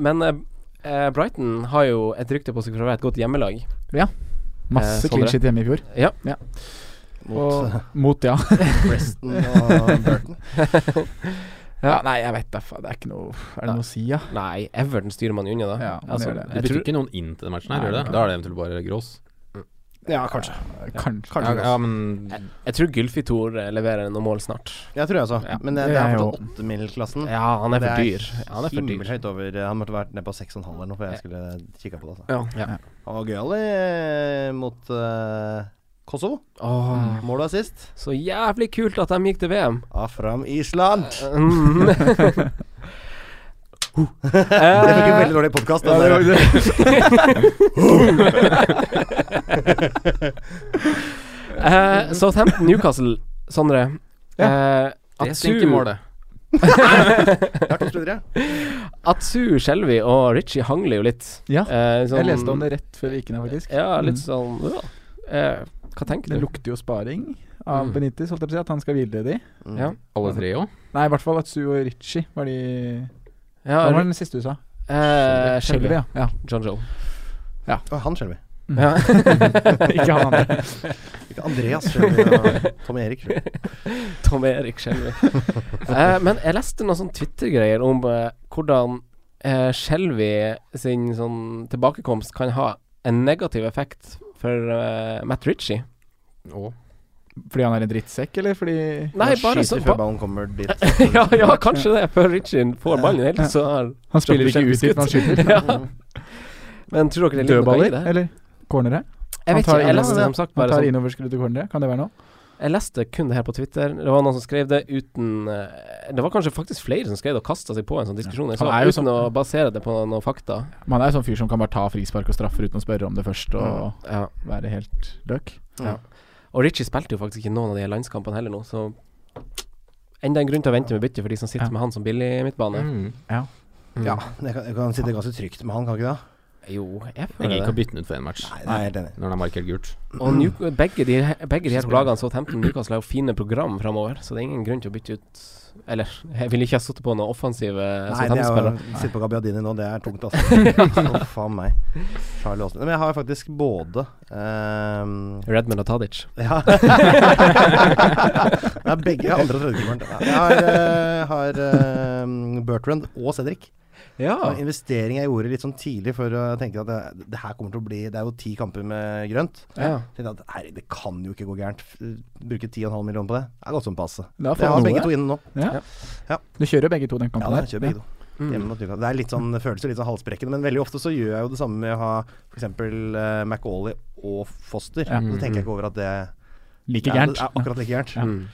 S3: men eh, eh, Brighton har jo et rykte på seg for å være et godt hjemmelag.
S5: Masse
S3: Eh, Sondre?
S5: clean shit hjemme i fjor.
S3: Ja.
S4: Mot eh,
S5: Mot, [laughs] ja.
S4: Preston og Burton.
S5: ja. Nei, jeg vet da faen. Det er ikke noe Er det noe å si, ja?
S3: Nei, Everton styrer man unna, da. Altså,
S5: Ja, man gjør det.
S2: Du bytter ikke noen inn til den matchen her,
S5: Nei,
S2: gjør du det?
S5: det
S2: Da er det eventuelt bare Grås.
S4: Ja, kanskje.
S5: Kanskje.
S2: Ja,
S4: Kanskje
S2: ja,
S4: Gross.
S2: men
S3: Jeg tror Gylfitor eh, leverer noen mål snart.
S4: Jeg tror jeg også. Men det, det
S5: Det
S4: er
S5: er
S4: fortsatt åttemilsklassen.
S3: Ja, han er
S4: Det
S3: for
S4: er
S3: dyr. Ja, Han er for dyr.
S4: Himmelhøyt over. eh, Han måtte vært ned på 6,5 eller noe, for jeg skulle kikka på det. Altså.
S3: Ja.
S4: Han var gøyal eh, mot eh, Kosovo.
S5: Mm.
S3: Åh,
S4: Mål og assist.
S3: så jævlig kult at de gikk til
S5: [laughs]
S3: VM.
S4: Afram
S3: [laughs]
S4: Island.
S3: Mm.
S4: Det fikk en veldig dårlig podkast. [laughs]
S3: Eh, Southampton Newcastle, Sondre. Eh,
S2: det stinker mål, det.
S3: Atsu Skjelvi og Richie hangler jo litt.
S5: Ja.
S3: Eh, sånn-
S5: Ah, Jeg leste om det rett før vi gikk ned, faktisk.
S3: Ja, litt
S5: Mm.
S3: sånn ja. eh, Hva tenker
S5: Det
S3: du?
S5: lukter jo sparing av
S3: Mm.
S5: Benitez, holdt jeg på å si. At han skal hvile de.
S3: Ja.
S2: Alle tre òg?
S5: Nei, i hvert fall at Sue og Ritchie var de
S3: Ja,
S5: Hva var den siste du sa?
S3: eh,
S5: Skjelvi,
S3: Skjelvi.
S5: ja. ja.
S3: John Joe.
S4: Og han skjelver.
S3: Ja.
S5: [laughs] Ikke han andre.
S4: Ikke Andreas skjelver. Tom Erik skjelver.
S3: Tom Erik
S5: [laughs]
S3: Skjelvi. eh, men jeg leste noen sånn Twitter-greier om eh, hvordan eh, Skjelvi sin sånn tilbakekomst kan ha en negativ effekt for eh, Matt Ritchie.
S2: Å.
S5: Fordi han er en drittsekk, eller fordi
S3: Nei, bare
S4: Skyter
S3: sånn
S4: før
S3: ba
S4: ballen kommer dit.
S3: [laughs] ja, ja, kanskje det, før Ritchie får ballen helt, så har
S5: Han spiller ikke ut hvis han [laughs] skyter.
S3: ja. Men tror dere det ligger noe i
S5: Dødballer,
S3: det?
S5: eller cornere.
S3: Jeg
S5: han
S3: vet
S5: tar
S3: ikke, jeg
S5: inn-
S3: leste som sagt
S5: Han
S3: bare
S5: tar
S3: sånn
S5: innoverskudde cornere. Kan det være noe?
S3: Jeg leste kun det her på Twitter. Det var noen som skrev det uten eh, Det var kanskje faktisk flere som skrev det og kasta seg på en sånn diskusjon. Jeg
S5: Han
S3: så,
S5: er jo
S3: uten å basere det på noen fakta.
S5: Man er jo sånn fyr som kan bare ta frispark og straffer uten å spørre om det først, og
S3: Ja.
S5: være helt løk.
S3: Og Ritchie spilte jo faktisk ikke noen av de her landskampene heller nå, så Enda en grunn til å vente med bytte for de som sitter
S5: Ja.
S3: med han som billig midtbane.
S2: Mm.
S4: Ja, jeg kan, jeg kan sitte ganske trygt med han, kan ikke det?
S3: Jo, jeg
S2: Jeg
S3: føler
S2: gidder
S3: det.
S2: ikke å bytte den ut for én match.
S3: Nei, nei, jeg er helt enig.
S2: Når den er markert
S4: [laughs]
S2: gult.
S3: Og New, begge, de, begge de her lagene så Tempton Newcastle har jo fine program framover, så det er ingen grunn til å bytte ut Eller jeg ville ikke ha sittet på noen offensive altså,
S4: Nei, det er jo,
S3: Southampton-spillere.
S4: sitte på Gabbiadini nå, det er tungt, altså. Å, faen meg. Charlie Aasen. Men jeg har faktisk både ehm,
S3: Redmond og Tadic.
S4: Ja. [laughs] Det er begge andre og tredjekeeperen. Jeg har, eh, har eh, Bertrand og Cedric.
S3: Ja.
S4: En investering jeg gjorde litt sånn tidlig for å tenke at det, det her kommer til å bli Det er jo ti kamper med grønt.
S5: Ja.
S4: Tenkte at herregud, det kan jo ikke gå gærent. F- Bruke 10,5 millioner på det. Det er godt som passe.
S5: Det er
S4: Jeg har
S5: faen
S4: begge
S5: noe.
S4: to inne nå.
S5: Ja.
S4: Ja.
S5: Du kjører begge to den
S4: Ja,
S5: kampen
S4: da,
S5: der?
S4: kjører begge to. Hjemme
S5: Mm.
S4: mot Newcastle. Det er litt sånn, det føles jo litt sånn halsbrekkende, men veldig ofte så gjør jeg jo det samme med å ha f.eks. Uh, McAuley og Foster.
S5: Ja.
S4: Så tenker jeg ikke over at det
S5: Like
S4: det er-
S5: gærent.
S4: Det er akkurat like gærent.
S5: Ja.
S3: Mm.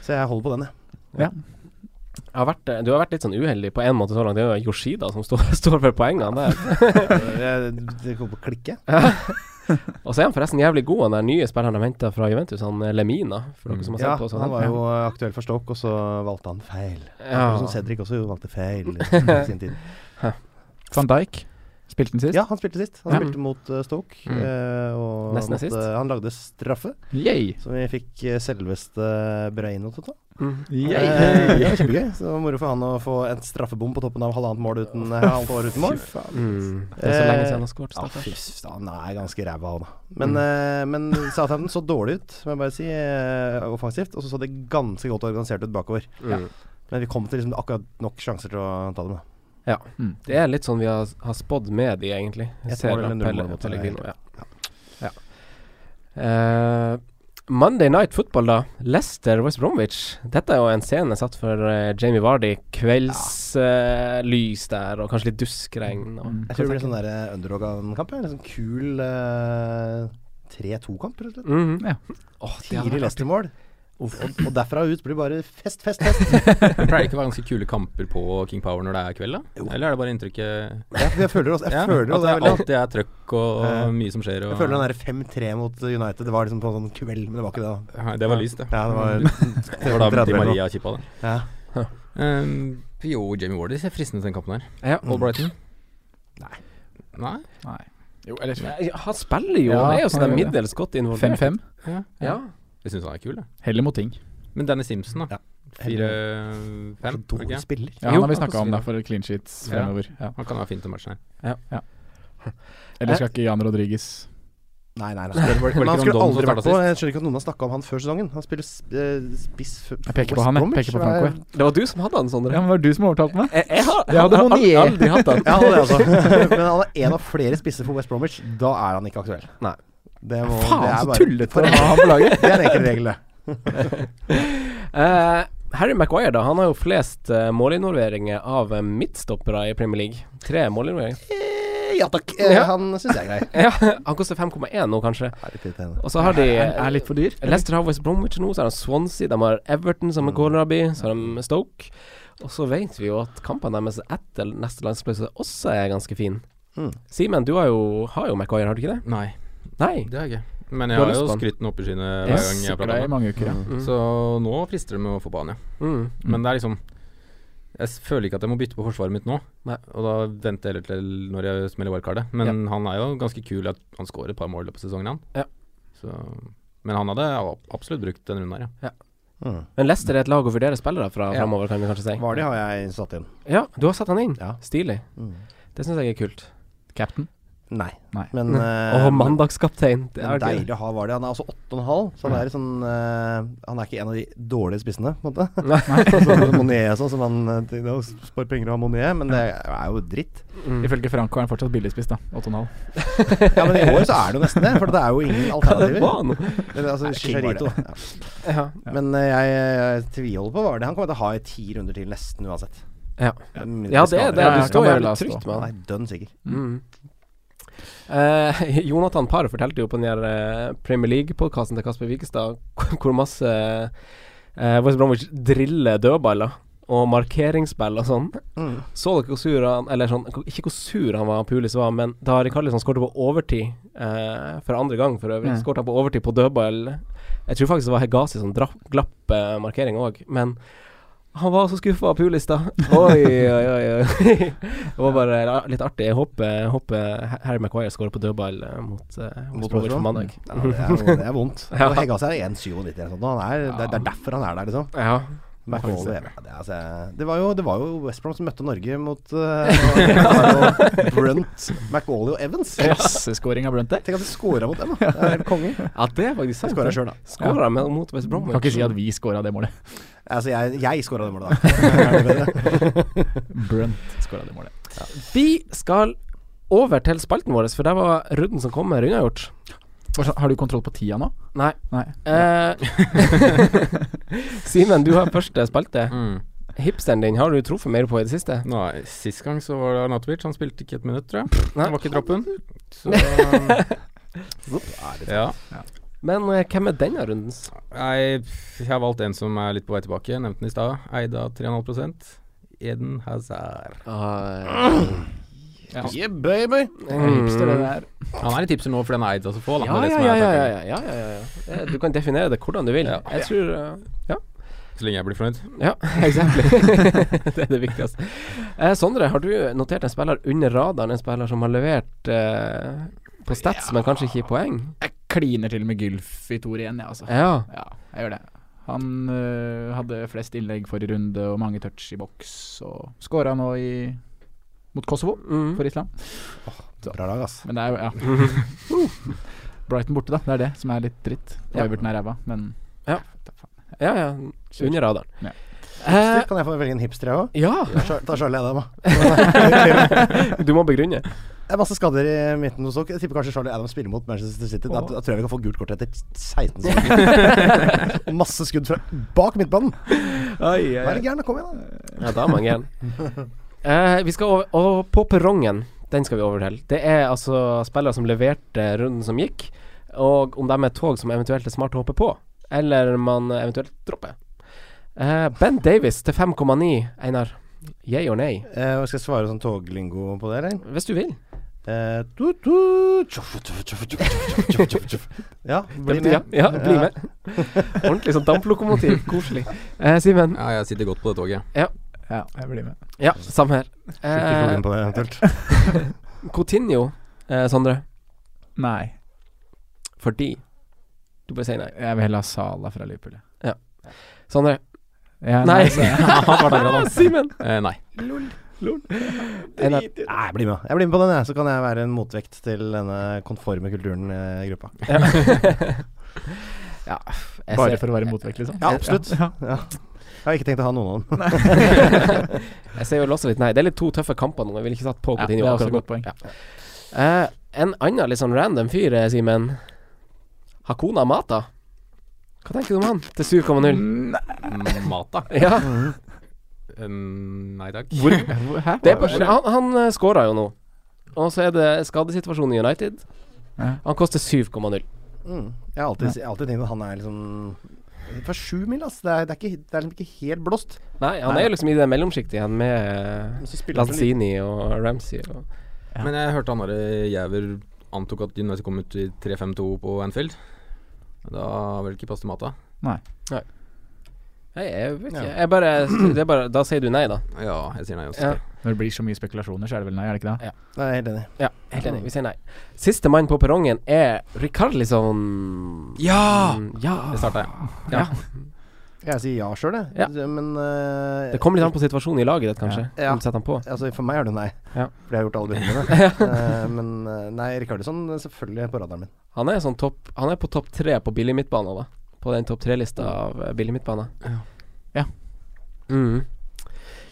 S4: Så jeg holder på den, jeg.
S5: Ja.
S3: Jeg har vært, du har vært litt sånn uheldig på én måte så langt. Det er jo Yoshida som står, [laughs] står for poengene
S4: [laughs]
S3: der.
S4: Eh, Det kommer på å klikke.
S3: Og så er han forresten jævlig god, han der nye spilleren de henta fra Juventus, han eh, Lemina. For dere som har sett
S4: Mm. Ja,
S3: på sånn.
S4: han var jo eh, aktuell for Stoke, og så valgte han feil.
S3: Ja.
S4: Akkurat Som Cedric også valgte feil i sin tid.
S5: Van Dijk spilte den sist.
S4: Ja, han spilte sist. Han
S5: Ja.
S4: spilte mot eh, Stoke.
S2: Mm.
S4: eh, Og
S3: Nesten
S4: måtte,
S3: assist.
S4: han lagde straffe,
S5: Yay.
S4: som vi fikk eh, selveste Breino til å ta. Eh,
S5: Yay.
S4: det var kjempegøy. Så det var moro for han å få et straffebom på toppen av halvannet mål uten, eh, halvannet år uten mål.
S3: Mm. Det er så lenge siden han har skåret,
S4: Ja,
S3: stakkar.
S4: fy faen, han er ganske ræva, han da. Men, eh, men Southampton så dårlig ut, må jeg bare si, eh, offensivt. Og så så det ganske godt organisert ut bakover.
S3: Mm.
S4: Men vi kom til liksom akkurat nok sjanser til å ta dem. da.
S3: Ja. Det er litt sånn vi har, har spådd med de, egentlig. Jeg
S4: Et
S3: ser
S4: mål eller
S3: at
S4: null
S3: Pelle-
S4: mål mot
S3: Pellegrino,
S4: Sverige.
S3: ja. ja. Eh, Monday Night Football, da. Leicester West Bromwich. Dette er jo en scene satt for eh, Jamie Vardy. Kveldslys der, og kanskje litt duskregn.
S5: Mm.
S3: Og,
S4: Jeg tror det blir sånn der eh, underdog av en kamp. ja. En sånn kul eh, 3-2-kamp, rett og slett.
S3: Mhm.
S5: Ja.
S3: Åh, det hadde
S4: Fire
S3: vært artig.
S4: Leicester-mål. Og, og derfra ut blir det bare fest, fest, fest.
S2: Det pleier ikke å være ganske kule kamper på King Power når det er kveld, da? Eller er det bare inntrykket
S4: Jeg, jeg føler også, jeg
S2: Ja,
S4: føler
S2: At
S4: også
S2: det
S4: det er veldig-
S2: alltid er trøkk og
S4: Eh,
S2: mye som skjer. Og,
S4: jeg føler den der 5-3 mot United, det var liksom på en sånn kveld, men det var ikke det. da.
S2: Nei, det var lyst, det. Mm.
S4: [laughs] Ja, det var,
S2: Det var da Di Maria kippa det.
S4: Ja.
S2: Um, jo, Jamie Wardy ser fristende ut den kampen her.
S3: Ja.
S4: Mm.
S2: Og Brighton? Nei.
S5: Nei. Jo, eller
S3: Ja, Han spiller jo,
S5: Ja,
S3: han er jo
S5: han
S3: sånn der
S5: gjør det.
S3: middels godt involvert.
S5: 5-5.
S2: Ja.
S3: Ja.
S2: Jeg syns han er kul, jeg.
S5: Heller mot ting.
S2: Men Danny Simpson, da.
S4: Ja. Så
S2: Fire-fem?
S4: dårlig spiller.
S5: Ja,
S3: Jo,
S5: han har vi
S3: han
S5: snakka om
S3: forsvinner.
S5: det for clean sheets
S2: Ja.
S5: fremover. Ja.
S2: Han kan ha fint om matchen her.
S4: Eh.
S5: Eller skal ikke Jan Rodriguez
S4: Nei, nei,
S2: Var
S4: nei.
S2: det- var det ikke
S4: Men han skulle
S2: Rondon som
S4: aldri vært
S2: startet
S4: på.
S2: sist?
S4: Jeg skjønner ikke at noen har snakka om han før sesongen. Han spiller sp- eh, spiss f-
S5: Jeg peker på
S4: West
S5: han, jeg.
S4: Bromwich.
S5: Peker på Franco, jeg.
S3: Det var du som hadde han, Sondre.
S5: Ja, men Var det du som overtalte meg?
S3: Jeg, jeg har,
S5: Jeg hadde
S3: har aldri,
S5: Monier.
S3: aldri hatt
S4: [laughs]
S3: han.
S4: Ja, han er det altså. Men han er en av flere spisser for West Bromwich. Da er han ikke aktuell.
S3: Nei.
S4: Det må, det
S5: Faen,
S4: er
S5: så
S4: bare-
S5: tullete å ha ham på laget!
S4: [laughs] Det er en enkel regel, det.
S3: Eh, Harry Maguire da, han har jo flest eh, målinvolveringer av eh, midtstoppere i Premier League. Tre målinvolveringer.
S4: [laughs] Eh, Ja takk. Eh,
S3: Ja.
S4: Han syns jeg er grei.
S2: [laughs]
S3: Ja, han koster 5,1 nå, kanskje.
S4: Er litt irriterende.
S3: Og så har de eh,
S5: Er, er litt for dyr.
S3: Leicester har West Bromwich nå, så har de Swansea, de har Everton som er Cornerby, så har de Stoke. Og så vet vi jo at kampene deres etter neste landspause også er ganske fin.
S4: Mm.
S3: Simen, du har jo, har jo Maguire, har du ikke det?
S2: Nei,
S3: Nei.
S2: det har jeg ikke.
S3: Du
S2: Men jeg
S3: har
S2: har
S3: lyst
S2: jo
S3: på han.
S2: skrytt den opp i skyene
S3: Jeg
S2: hver gang jeg har
S5: Sikkert
S2: pratet
S5: det i
S2: om han.
S5: mange uker, ja.
S2: Så nå frister det med å få på han, ja.
S3: Mm.
S2: Men det er liksom Jeg s- føler ikke at jeg må bytte på forsvaret mitt nå.
S3: Nei.
S2: Og da venter jeg heller til når jeg smeller wildcardet. Men han er jo ganske kul. At han skårer et par mål i løpet av sesongen, han.
S3: Ja.
S2: Så, men han hadde ab- absolutt brukt denne runden her, ja.
S4: Mm.
S3: Men Leicester er et lag å vurdere spillere fra
S2: Ja.
S3: framover, kan vi kanskje si.
S4: Vardy har jeg satt inn.
S3: Ja, du har satt han inn.
S4: Ja.
S3: Stilig.
S4: Mm.
S3: Det syns jeg er kult.
S5: Captain.
S4: Nei.
S5: Nei.
S4: Men eh,
S3: Åh, mandagskaptein. Det er
S4: men deilig
S3: deilig.
S4: å ha Vardy. Han er altså 8,5, så han er, sånn, eh, han er ikke en av de dårlige spissene, på en måte. [laughs] Sånn Monier og sånn, som han eh, tenkte, «Å, spar penger av Monier, men det er jo dritt.
S5: Ifølge Franco er han fortsatt billigspist, da. 8,5.
S4: Ja, men i år så er det jo nesten det, for det er jo
S3: [laughs]
S4: ingen
S3: Det
S4: alternativer.
S3: var noe.
S4: Men, altså, Chicharito. Ja.
S3: Ja.
S4: Men eh, jeg, jeg tviholder på Vardy. Han kommer til å ha i ti runder til nesten uansett.
S3: Ja.
S4: Mindre
S3: ja, det er det.
S4: skader.
S3: Du
S5: Ja, kan
S3: står
S5: bare
S3: jævlig
S5: la stå.
S3: trygt med
S4: Han
S3: han.
S4: er dønn sikker.
S3: Mm. Eh, [laughs] Jonathan Parr fortalte jo på den her eh, Premier League-podkasten til Kasper Wikestad [laughs] hvor masse eh, West Bromwich
S2: [laughs]
S3: driller dødballer og markeringsspill og sånn.
S4: Mm.
S3: Så dere hvor sur han Eller sånn, ikke hvor sur han var, Pulis var, men da Rikarlisson skåret sånn på overtid eh, for andre gang for øvrig,
S5: Mm.
S3: skåret han på overtid på dødball Jeg tror faktisk det var Hegazi som drapp, glapp eh, markering òg, men Han var så skuffa av Pulista. Oi, oi, oi. oi. Det var bare la- litt artig. Jeg håper, håper Harry Maguire scorer på dødball eh, mot, eh,
S4: Mot
S3: mot Rover på
S4: West Brom?
S3: mandag.
S4: Ja, det er, jo- det er vondt.
S3: [laughs] Ja.
S4: Og Heggas er 1,97 eller noe sånt. Han sånn. er, det, er- det er derfor han er der, liksom.
S3: Ja.
S4: Men
S3: Faktisk
S4: det,
S3: det.
S4: det, er, altså, det, var jo, det var jo West Brom som møtte Norge mot
S3: [laughs]
S4: eh, Brunt, McAuley og Evans.
S5: Klasseskåring av Brunt der.
S4: Tenk at de scora mot dem,
S3: [laughs]
S4: da. Det er helt konge.
S3: Ja, det er faktisk sant.
S4: Skåra sjøl, da.
S3: Skåra med- mot West Brom.
S5: Kan ikke si at vi scora det målet.
S4: Altså, jeg, jeg scora det målet,
S3: [laughs]
S4: da.
S5: Brunt scora det målet.
S3: Vi skal over til spalten vår, for der var runden som kommer, unnagjort.
S5: Hva slags- Har du kontroll på tida nå?
S3: Nei.
S5: Nei.
S3: Eh, [laughs] Simen, du har første spalte. Hipsteren din har du truffet mer på i det siste.
S2: Nei, Sist gang så var det Arnatovic. Han spilte ikke et minutt, tror jeg.
S3: Nei.
S2: Han var ikke i troppen.
S3: [laughs]
S2: Så um, ja.
S3: Men eh, hvem er denne rundens?
S2: Nei, jeg har valgt en som er litt på vei tilbake. Jeg Nevnte den i stad. Eida 3,5 Eden Hazard.
S3: Ah,
S4: Yeah, baby!
S5: Hipster, det der.
S3: mm.
S2: Han er litt tipser nå, for den er eid av så få. da.
S3: Ja,
S2: Det er det
S3: ja,
S2: som er
S3: ja, ja,
S2: tanken.
S3: ja, ja, ja, ja. Eh, Du kan definere det hvordan du vil.
S2: Ja.
S3: Jeg tror eh,
S2: Så lenge jeg blir fornøyd.
S3: Ja, [laughs]
S2: [laughs]
S3: exactly. det er det viktigste. Eh, Sondre, har du notert en spiller under radaren? En spiller som har levert eh, på stats, men kanskje ikke i poeng?
S5: Jeg kliner til med Gylf i Tor igjen, jeg, altså.
S3: Ja.
S5: Ja, jeg gjør det. Han øh, hadde flest innlegg forrige runde og mange touch i boks, og skåra nå i mot Kosovo
S3: Mm.
S5: for Island.
S4: Bra lag, ass.
S5: Men det er jo
S3: [laughs]
S5: ja. Uh. Brighton borte, da. Det er det som er litt dritt.
S3: Ja.
S5: Ja. Everton er ræva, men
S3: Ja. Ja, ja. Under radaren.
S5: Ja.
S3: Eh,
S4: Kan jeg få velge en hipster, jeg òg?
S3: ja,
S4: Ta Charlie Adam, da.
S3: [laughs] du må begrunne.
S4: Det er masse skader i midten hos dere. Jeg tipper kanskje Charlie Adam spiller mot Manchester City. Da, da tror jeg vi kan få gult kort etter 16 sekunder. masse skudd fra bak midtbanen. Hva er det gærent? Kom igjen, da.
S3: Ja, da er man gæren. Eh, vi skal over, og på perrongen. Den skal vi over til. Det er altså spillere som leverte runden som gikk, og om de er tog som eventuelt er smart å hoppe på, eller man eventuelt dropper. Eh, ben Davis til 5,9, Einar. Yeah or nay?
S4: Eh, skal jeg svare sånn toglingo på det, eller?
S3: Hvis du vil.
S4: Eh, tut, tut, tjoff, tjoff, tjoff, tjoff, tjoff, tjoff, tjoff, tjoff. Ja, bli
S3: Ja,
S4: med.
S3: ja, bli [laughs] med. Ordentlig sånn damplokomotiv. [laughs] Koselig. Eh, Simen.
S2: Ja, jeg sitter godt på det
S3: [laughs]
S2: toget. [laughs]
S5: Ja, jeg blir med.
S3: Ja, samme her.
S4: Ikke
S3: Eh,
S4: problem på det, eventuelt.
S3: Coutinho, eh, Sondre.
S5: Nei.
S3: Fordi Du bare sier nei.
S5: Jeg vil heller ha Sala fra Liverpool. jeg.
S3: Sondre.
S5: Ja,
S3: Nei.
S5: så-
S3: Simen.
S2: Eh, nei.
S3: Einar.
S4: Nei, jeg blir med. Jeg blir med på den, jeg. Så kan jeg være en motvekt til denne konforme kulturen eh, i gruppa.
S3: Ja. ja jeg
S5: Bare
S3: ser,
S5: for
S3: [laughs]
S5: å være motvekt, liksom?
S4: Ja, absolutt.
S5: Ja.
S4: Ja. Jeg har ikke tenkt å ha noen av dem.
S3: jeg ser jo også litt Nei, det er litt to tøffe kamper nå. Jeg ville ikke satt på
S5: Ja,
S3: Coutinho.
S5: det er også
S3: akkurat
S5: et godt
S3: nå.
S5: poeng.
S3: Ja. Eh, en annen litt sånn random fyr, eh, Simen. Hakuna Mata. Hva tenker du om han til 7,0?
S5: Mm.
S2: Mata?
S3: Ja,
S2: Um, nei takk.
S5: [laughs] Hæ?
S3: det er bare, han han eh, scora jo nå. Og så er det skadesituasjonen i United.
S5: Ja.
S3: Han koster 7,0.
S4: Mm. Jeg har alltid, jeg har alltid tenkt at han er liksom For sju mil, ass. Det er, det er, ikke, det er liksom ikke helt blåst.
S3: Nei, han
S4: Nei.
S3: er jo liksom i det mellomsjiktet igjen med
S4: Men så
S3: eh,
S4: spiller han sånn for lite.
S3: Lanzini og Ramsey. Og
S2: Men jeg hørte han derre Jæver antok at United kom ut i 3-5-2 på Anfield. Da vil det ikke passe til Mata.
S3: Nei, jeg vet ikke.
S4: Ja.
S3: Jeg bare, det er bare Da sier du nei, da.
S2: Ja, jeg sier nei også.
S3: Ja.
S5: Når det blir så mye spekulasjoner, så er det vel nei, er det ikke det?
S4: Nei, jeg er helt enig.
S3: Ja, helt enig. Vi sier nei. Siste mann på perrongen er Rikarlison.
S2: Ja!
S3: ja.
S2: Det starta jeg.
S4: Jeg sier ja sjøl, jeg.
S3: Ja.
S4: Det- Men eh,
S3: Det kommer litt an på situasjonen i laget ditt, kanskje.
S4: Ja.
S3: Om du setter han på.
S4: Altså, for meg er det nei.
S3: Ja.
S4: For jeg har gjort alle
S3: [laughs]
S4: bildene. Eh, men eh, nei, Rikardisson er selvfølgelig på radaren min.
S3: Han er, sånn topp, han er på topp tre på billig midtbane, da. På den topp tre-lista av eh, billig midtbane.
S2: Ja.
S5: Ja.
S3: Mm.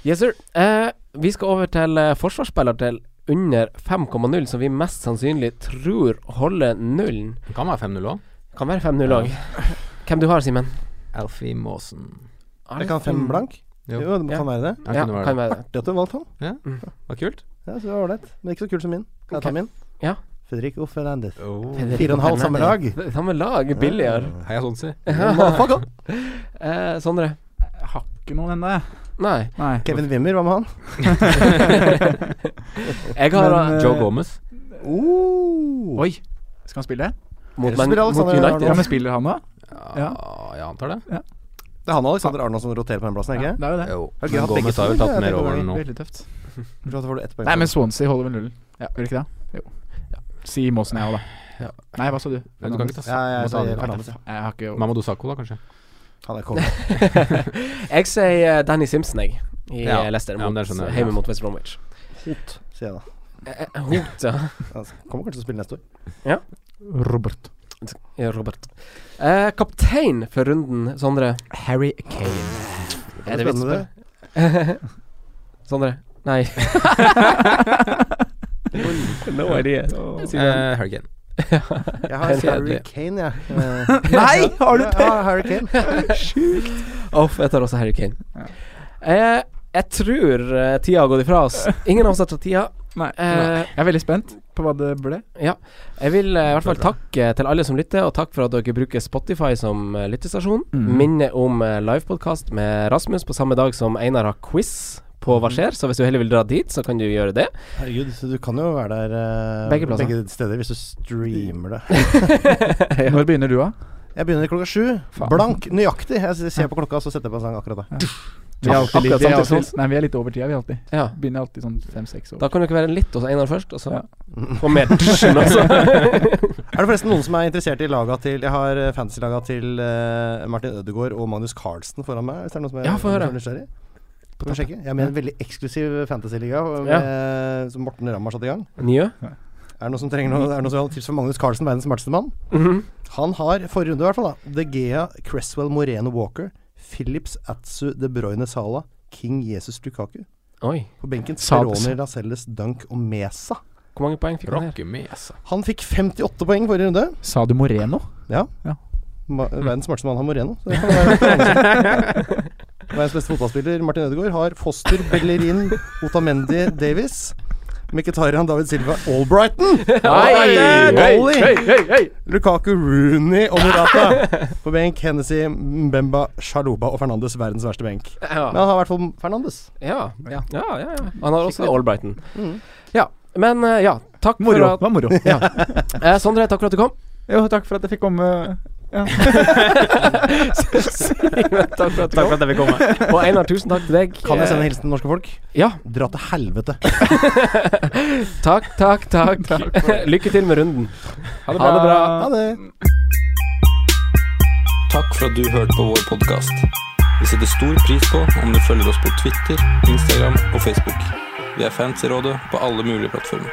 S3: Yes, sir. Eh, vi skal over til eh, forsvarsspiller til under 5,0, som vi mest sannsynlig tror holder nullen.
S2: Det Kan være 5-0 òg.
S3: Kan være 5-0 òg. Hvem du har, Simen?
S2: Alfie Maasen.
S4: Jeg kan ha fem blank. Jo, det må
S3: Ja.
S4: kan være det.
S2: Han
S3: Ja,
S2: kunne være
S3: kan
S2: det.
S3: være det.
S4: Artig at du har valgt han.
S2: Det var kult.
S4: Ja, så det var ålreit. Men ikke så kul som min. Kan jeg ta
S3: Ok.
S4: min?
S3: Ja.
S4: Fredrik Offerlandes.
S2: Oh.
S4: Fire og en halv samme lag.
S3: Samme lag, billigere.
S2: Heia Sonsi.
S4: Motherfucker.
S3: [laughs] Eh, Sondre?
S5: Jeg har ikke noen ennå.
S3: Nei.
S5: Nei.
S4: Kevin Wimmer, hva med han?
S3: Jeg har
S5: Men, eh,
S2: Joe Gomez.
S4: Oh.
S5: Oi, skal han spille?
S3: mot,
S4: Ellers
S3: men,
S4: spiller
S3: mot
S4: Alexander
S3: United.
S4: Ja,
S5: Ja,
S4: men
S5: men spiller han nå?
S2: Ja, jeg antar det.
S4: Det er han og Alexander Arnold som roterer på den plassen, ikke
S5: Ja, det er jo det.
S4: Jo.
S5: Men
S4: hatt
S5: Gomez
S4: begge
S5: har
S4: to,
S5: vel tatt
S4: eller?
S5: mer
S4: Det
S5: over
S4: var
S5: den nå.
S4: Veldig tøft. Bra, da får du ett poeng.
S5: Nei, men Swansea holder vel nullen. Ja, gjør de ikke det? Jo. Ja. Si Måsen jeg òg, da. Nei, hva sa du?
S2: Nei, du kan ikke ta Ja,
S4: jeg sa Fernandes,
S5: Fernandes. Jeg har ikke
S2: Mamadou Sakho, da, kanskje?
S4: Han er
S3: [laughs]
S4: konge.
S3: jeg sier eh, Danny Simpson, jeg, i eh,
S2: Ja.
S3: Leicester,
S2: Ja, men det
S3: mot,
S2: skjønner jeg.
S3: hjemme mot West Bromwich.
S4: Hot, sier jeg da.
S3: Eh, eh, Hot, ja.
S4: Han kommer kanskje til å spille neste år.
S3: ja.
S5: [laughs] Robert.
S3: Ja, Robert. Eh, kaptein for runden, Sondre.
S5: Harry Kane.
S3: Er
S4: det
S3: det vits på
S4: spennende,
S3: det? [laughs] Sondre. Nei. [laughs] no idea.
S2: Eh, Harry Kane.
S4: Jeg
S3: [laughs]
S4: har Harry
S3: Kjedelig.
S4: Kane, jeg. Eh,
S3: Nei, har du
S4: jeg har Harry Kane.
S3: Off, jeg tar også Harry Kane. Eh, jeg tror eh, tida har gått ifra oss.
S5: [laughs]
S3: Ingen av oss har tatt tida.
S5: Nei.
S3: Eh,
S5: Jeg er veldig spent på hva det [laughs] ble.
S3: Ja. Jeg vil eh, i hvert fall takke til alle som lytter, og takk for at dere bruker Spotify som eh, lyttestasjon.
S5: Mm.
S3: Minne om eh, livepodkast med Rasmus på samme dag som Einar har quiz
S5: Mm.
S3: på Hva skjer, så hvis du heller vil dra dit, så kan du gjøre det.
S4: Herregud, så du kan jo være der eh,
S3: Begge plasser.
S4: steder hvis du streamer det.
S3: [laughs]
S5: Når begynner du, da?
S4: Jeg begynner klokka sju.
S5: Faen.
S4: Blank, nøyaktig. Jeg ser på klokka, så setter jeg på en sang akkurat da.
S5: Vi er alltid,
S3: Akkurat
S5: litt- vi er
S3: samtidig som
S5: alltid, nei, vi er litt over tida, vi alltid.
S3: Ja.
S5: Begynner alltid sånn fem-seks år.
S3: Da kan du ikke være litt hos Einar først, og så
S5: Ja.
S3: få mer dusjen,
S5: [laughs]
S3: [laughs] altså.
S4: Er det forresten noen som er interessert i laga til Jeg har eh, fantasy-laga til eh, Martin Ødegaard og Magnus Carlsen foran meg. Hvis det er noen som er
S3: Ja, få høre.
S4: som er nysgjerrig. Får vi sjekke. Jeg er med i en veldig eksklusiv fantasy-liga med- som Morten Ramm har satt i gang.
S3: Njø?
S4: Er det noen som trenger noe, er det noen som har tips for Magnus Carlsen, verdens smarteste mann?
S3: Mhm.
S4: Han har, forrige runde i hvert fall, da De Gea, Cresswell, Moreno Walker, Phillips, Atsu, De Bruyne, Sala, King, Jesus, Lukaku.
S3: Oi.
S4: På benken
S5: Sala.
S4: Speroni, Lascelles, Dunk og Mesa.
S3: Hvor mange poeng fikk han her?
S2: Rocke mesa.
S4: Han fikk 58 poeng forrige runde.
S5: Sa du Moreno?
S4: Ja.
S5: Ja.
S4: Ma verdens smarteste mann har Moreno. Så det kan være Verdens beste fotballspiller, Martin Ødegaard, har Foster, Bellerin, Otamendi, Davis. Mkhitaryan, David Silva, Albrighton! Goalie! Lukaku, Rooney og Morata. På benk Hennessy, Mbemba, Shaluba og Fernandes. Verdens verste benk.
S3: Ja.
S4: Men han har i hvert fall Fernandes.
S3: Ja. Ja, ja, ja. Mm. Han har også Albrighton. Ja. Men eh, ja, takk
S5: Moro.
S3: for
S5: Det
S3: at
S5: var moro. [laughs]
S3: ja. eh, Sondre, takk for at du kom. [laughs]
S5: Jo, takk for at jeg fikk komme.
S6: [laughs]
S3: Simen, takk for at du
S2: Takk for
S3: kom.
S2: at jeg fikk komme.
S3: Og Einar, tusen takk til deg.
S4: Kan jeg sende en hilsen til norske folk?
S3: Ja.
S4: Dra til helvete.
S3: Takk, takk, takk. [laughs] Lykke til med runden.
S5: Ha
S3: Ha det bra.
S4: Ha det.
S7: Takk for at du hørte på vår podkast. Vi setter stor pris på om du følger oss på Twitter, Instagram og Facebook. Vi er fans i rådet på alle mulige plattformer.